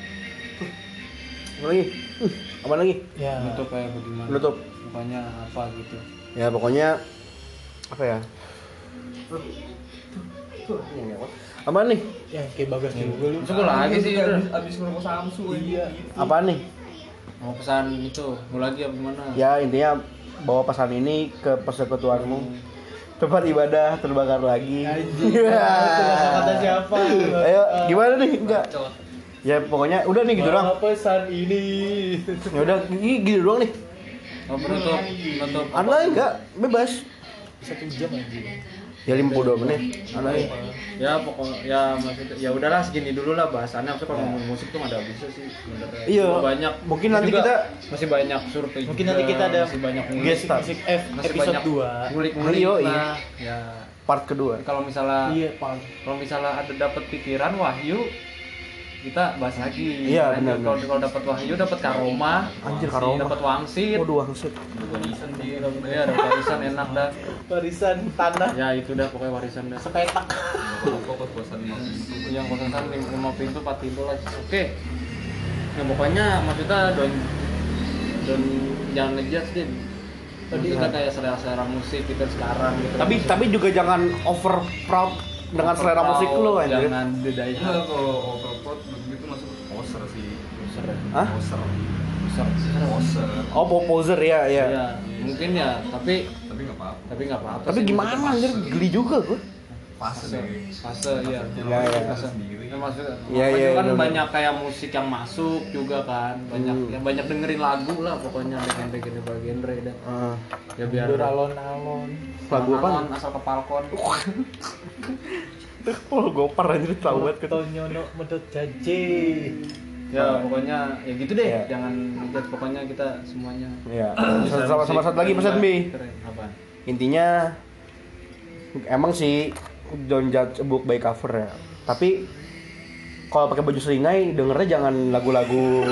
B: Apa lagi? Uh, apa lagi?
F: ya
A: Nutup kayak bagaimana?
B: Penutup.
A: Pokoknya apa gitu.
B: Ya pokoknya apa ya? Apaan nih?
F: yang Ya, kayak bagas juga lu
A: Masuk
F: gitu,
A: lagi sih abis, abis ngurus Samsu iya.
B: Apaan nih?
A: Mau pesan itu, mau lagi apa gimana?
B: Ya intinya bawa pesan ini ke persekutuanmu. Tempat ibadah terbakar lagi.
F: kata siapa
B: Ayo, gimana nih? Enggak. Ya pokoknya udah nih gitu doang.
F: Apa pesan ini
B: Ya udah, ini gitu doang nih.
A: Mau penutup, penutup.
B: Ada lagi enggak? Bebas.
F: satu jam aja
B: Ya 52 menit. Ada lagi.
A: Ya pokok ya maksudnya ya udahlah segini dulu lah bahasannya. Maksudnya kalau ngomong musik tuh nggak ada habisnya sih. sebenarnya.
B: Iya.
A: Cuma Banyak.
B: Mungkin nanti
A: Juga
B: kita-
A: masih banyak survei.
F: mungkin
A: juga,
F: nanti kita ada
A: masih banyak ngulik.
B: Guest star.
F: musik F
A: Masih
F: episode
A: banyak
F: 2
A: Ngulik-ngulik
B: Iya, iya.
A: lah. Ya.
B: Part kedua.
A: Kalau misalnya
F: iya pang
A: kalau misalnya ada dapat pikiran wahyu kita bahas lagi
B: Iya,
A: Nanti
B: benar,
A: kalau
B: benar.
A: kalau dapat wahyu dapat karoma
B: Anjir, karoma.
A: dapat wangsit
B: Waduh, wangsit.
A: ya dapat warisan enak dah
F: barisan tanah
A: ya itu dah pokoknya warisan dah
F: sepetak
C: Fokus bosan banget.
A: yang kosan kan lim- lima pintu empat pintu lah oke ya pokoknya maksudnya don don jangan ngejudge din tadi kita kayak selera-selera musik kita sekarang gitu
B: Tapi tapi juga jangan over proud dengan selera musik lo anjir.
A: jangan bedai
C: Iya, kalau overcoat begitu masuk poser sih. Poser.
B: Hah?
C: Poser. Poser.
B: Oh, poser ya, ya.
A: ya mungkin ya tapi
C: Tapi nggak apa-apa.
A: tapi nggak apa-apa
B: Tapi
A: sih.
B: gimana anjir? Geli juga gua.
C: Fase.
A: fase iya
B: Iya, iya.
A: fase
C: Sendiri.
A: ya, maksudnya
B: Iya,
A: makanya
B: iya,
A: kan
B: iya,
A: banyak kayak musik yang masuk juga kan banyak
B: Hmm.
A: yang banyak dengerin lagu lah pokoknya dengan dengan berbagai genre dah
B: Heeh.
A: ya biar
F: alon-alon
B: lagu apa?
A: Nonton asal kepalkon
B: Oh, gopar anjir tahu banget kan.
F: Tonyono medot jaje
A: ya pokoknya ya gitu deh
B: Iya.
A: jangan lihat pokoknya kita semuanya
B: Ya. Sama sama satu lagi pesan B.
A: Keren, apaan?
B: Intinya emang sih don't judge a book by cover ya. Tapi kalau pakai baju seringai dengernya jangan lagu-lagu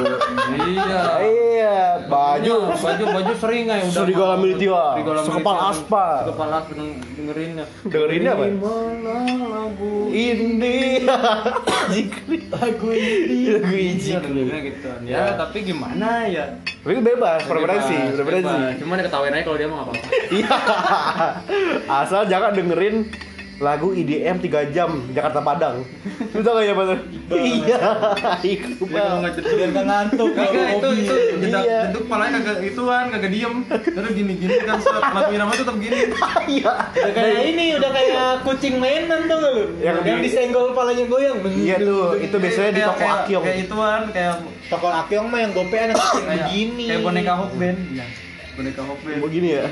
A: iya
B: iya baju
A: baju baju sering aja udah
B: Serigala Militia,
A: Serigala
B: Sekepal
A: Militia,
B: Aspal.
A: sekepal aspal dengerin ya
B: dengerinnya apa ini
F: lagu ini
B: lagu
A: Iya, dengerin gitu ya tapi gimana ya
B: tapi itu bebas preferensi
A: Bebas,
B: preferensi
A: bebas. cuman ketawain aja kalau dia mau apa-apa
B: iya asal jangan dengerin lagu IDM 3 jam Jakarta Padang itu tau gak ya bener iya
A: Kalau
B: Iqbal
A: nggak jeduk.
F: biar nggak ngantuk
C: Kagak itu
F: hobi.
C: itu jeda
B: Iya.
C: jeduk palanya kagak ituan kagak diem terus gini gini kan set laguin nama tetap gini
B: iya
F: udah kayak ini udah kayak kucing mainan tuh lu
B: Yang
F: yang,
B: di-
F: disenggol palanya goyang
B: iya tuh itu biasanya di
C: Kayak-
B: toko
C: kayak-
B: Akyong
C: kayak ituan kayak
F: toko akeong mah yang gopean yang kucing
C: kayak
F: begini
C: kayak boneka hokben ya boneka hokben
B: begini ya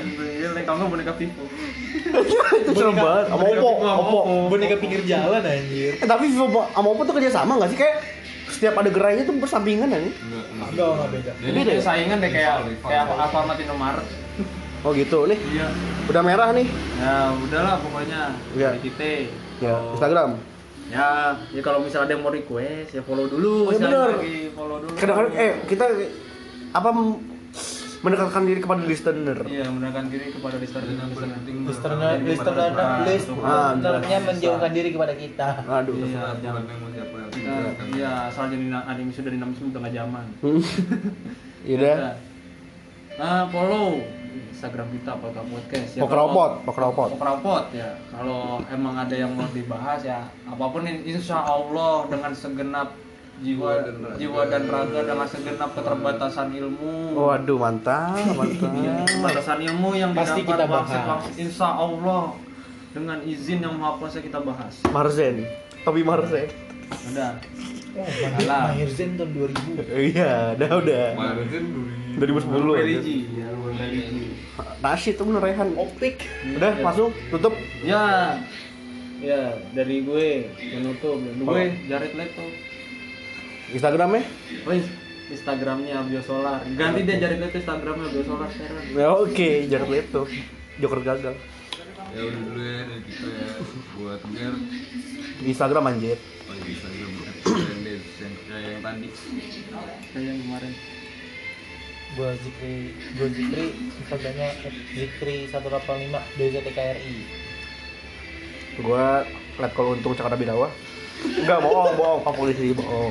C: Iya, lain kalau nggak boneka Vivo.
B: itu serem banget sama Oppo Oppo
F: boneka pinggir jalan anjir
B: Eh, tapi Vivo sama Oppo tuh kerja sama gak sih kayak setiap ada gerainya tuh bersampingan kan
F: enggak enggak beda
A: Jadi
B: Beda ya?
A: kayak saingan deh kayak
C: Rival,
A: kayak
C: rival.
A: Alfamart Indomaret.
B: oh gitu nih
A: Iya.
B: udah merah nih
A: Ya udahlah pokoknya
B: Iya.
A: dari kita.
B: ya
A: Kalau-
B: Instagram
A: Ya, ya kalau misalnya ada yang mau request ya follow dulu.
B: Oh, iya
A: sekali
B: bener.
A: lagi, follow dulu.
B: kadang-kadang eh kita apa mendekatkan diri kepada listener
A: Iya, menekan diri kepada listener listener.
F: listener
C: Jadi
F: listener
C: pada
F: anak
C: orang,
F: list
C: untuk-
B: Ah,
F: sebenarnya menjauhkan diri kepada kita
B: aduh
A: Iya,
C: Bukan
A: jangan.
C: yang mau siapa yang
A: Iya, Iya, asal jadi na- anime sudah dinamis udah nggak zaman.
B: Ya. Iya,
A: Nah, follow Instagram kita Polka Podcast. Ya,
B: Pokropot,
A: kalau-
B: Pokropot.
A: Pokropot ya. Kalau emang ada yang mau dibahas ya apapun ini, insya Allah dengan segenap jiwa jiwa dan raga dengan segenap keterbatasan ilmu.
B: waduh Oh, mantap,
A: Hmm.
B: mantap.
A: Keterbatasan Iya, ilmu yang
F: Pasti
A: didapat
F: kita bahas.
A: wasit-wasit, Insya Allah dengan izin yang maha kuasa kita bahas.
B: Marzen, Tobi Marzen.
A: Udah.
F: oh
A: Salah.
F: Mahir Zen tahun 2000
B: Iya, udah udah.
C: Kemarin kan duri.
B: 2010 aja.
A: Religi, ya, luar religi.
B: Nasib tuh bener Rehan. Optik. Udah
A: Iya.
B: masuk, tutup.
A: Ya, ya dari gue menutup. Gue Jared Leto.
B: Instagramnya?
A: Please Instagramnya Biosolar. Ganti deh Jared Leto Instagramnya Biosolar sekarang.
B: Ya oke, jangan itu. Joker gagal.
C: Ya udah dulu ya dari kita ya buat biar
B: Di Instagram anjir.
C: oh bisa gue yang yang kayak yang tadi.
A: Kayak yang kemarin.
F: gua Zikri gua Zikri Instagramnya Zikri 185 DZTKRI
B: Gua Letkol Untung Cakra Birawa. Enggak bohong, bohong, Pak Polisi bohong. Oh.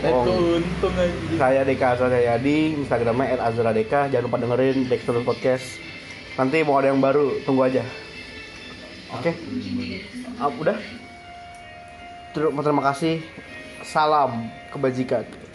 F: Itu
B: Bohong.
F: untung aja.
B: Saya Deka Azra Yadi, Instagramnya @azradeka. Jangan lupa dengerin Dexter Podcast. Nanti mau ada yang baru, tunggu aja. Oke. Ah, udah. Terima terima kasih. Salam kebajikan.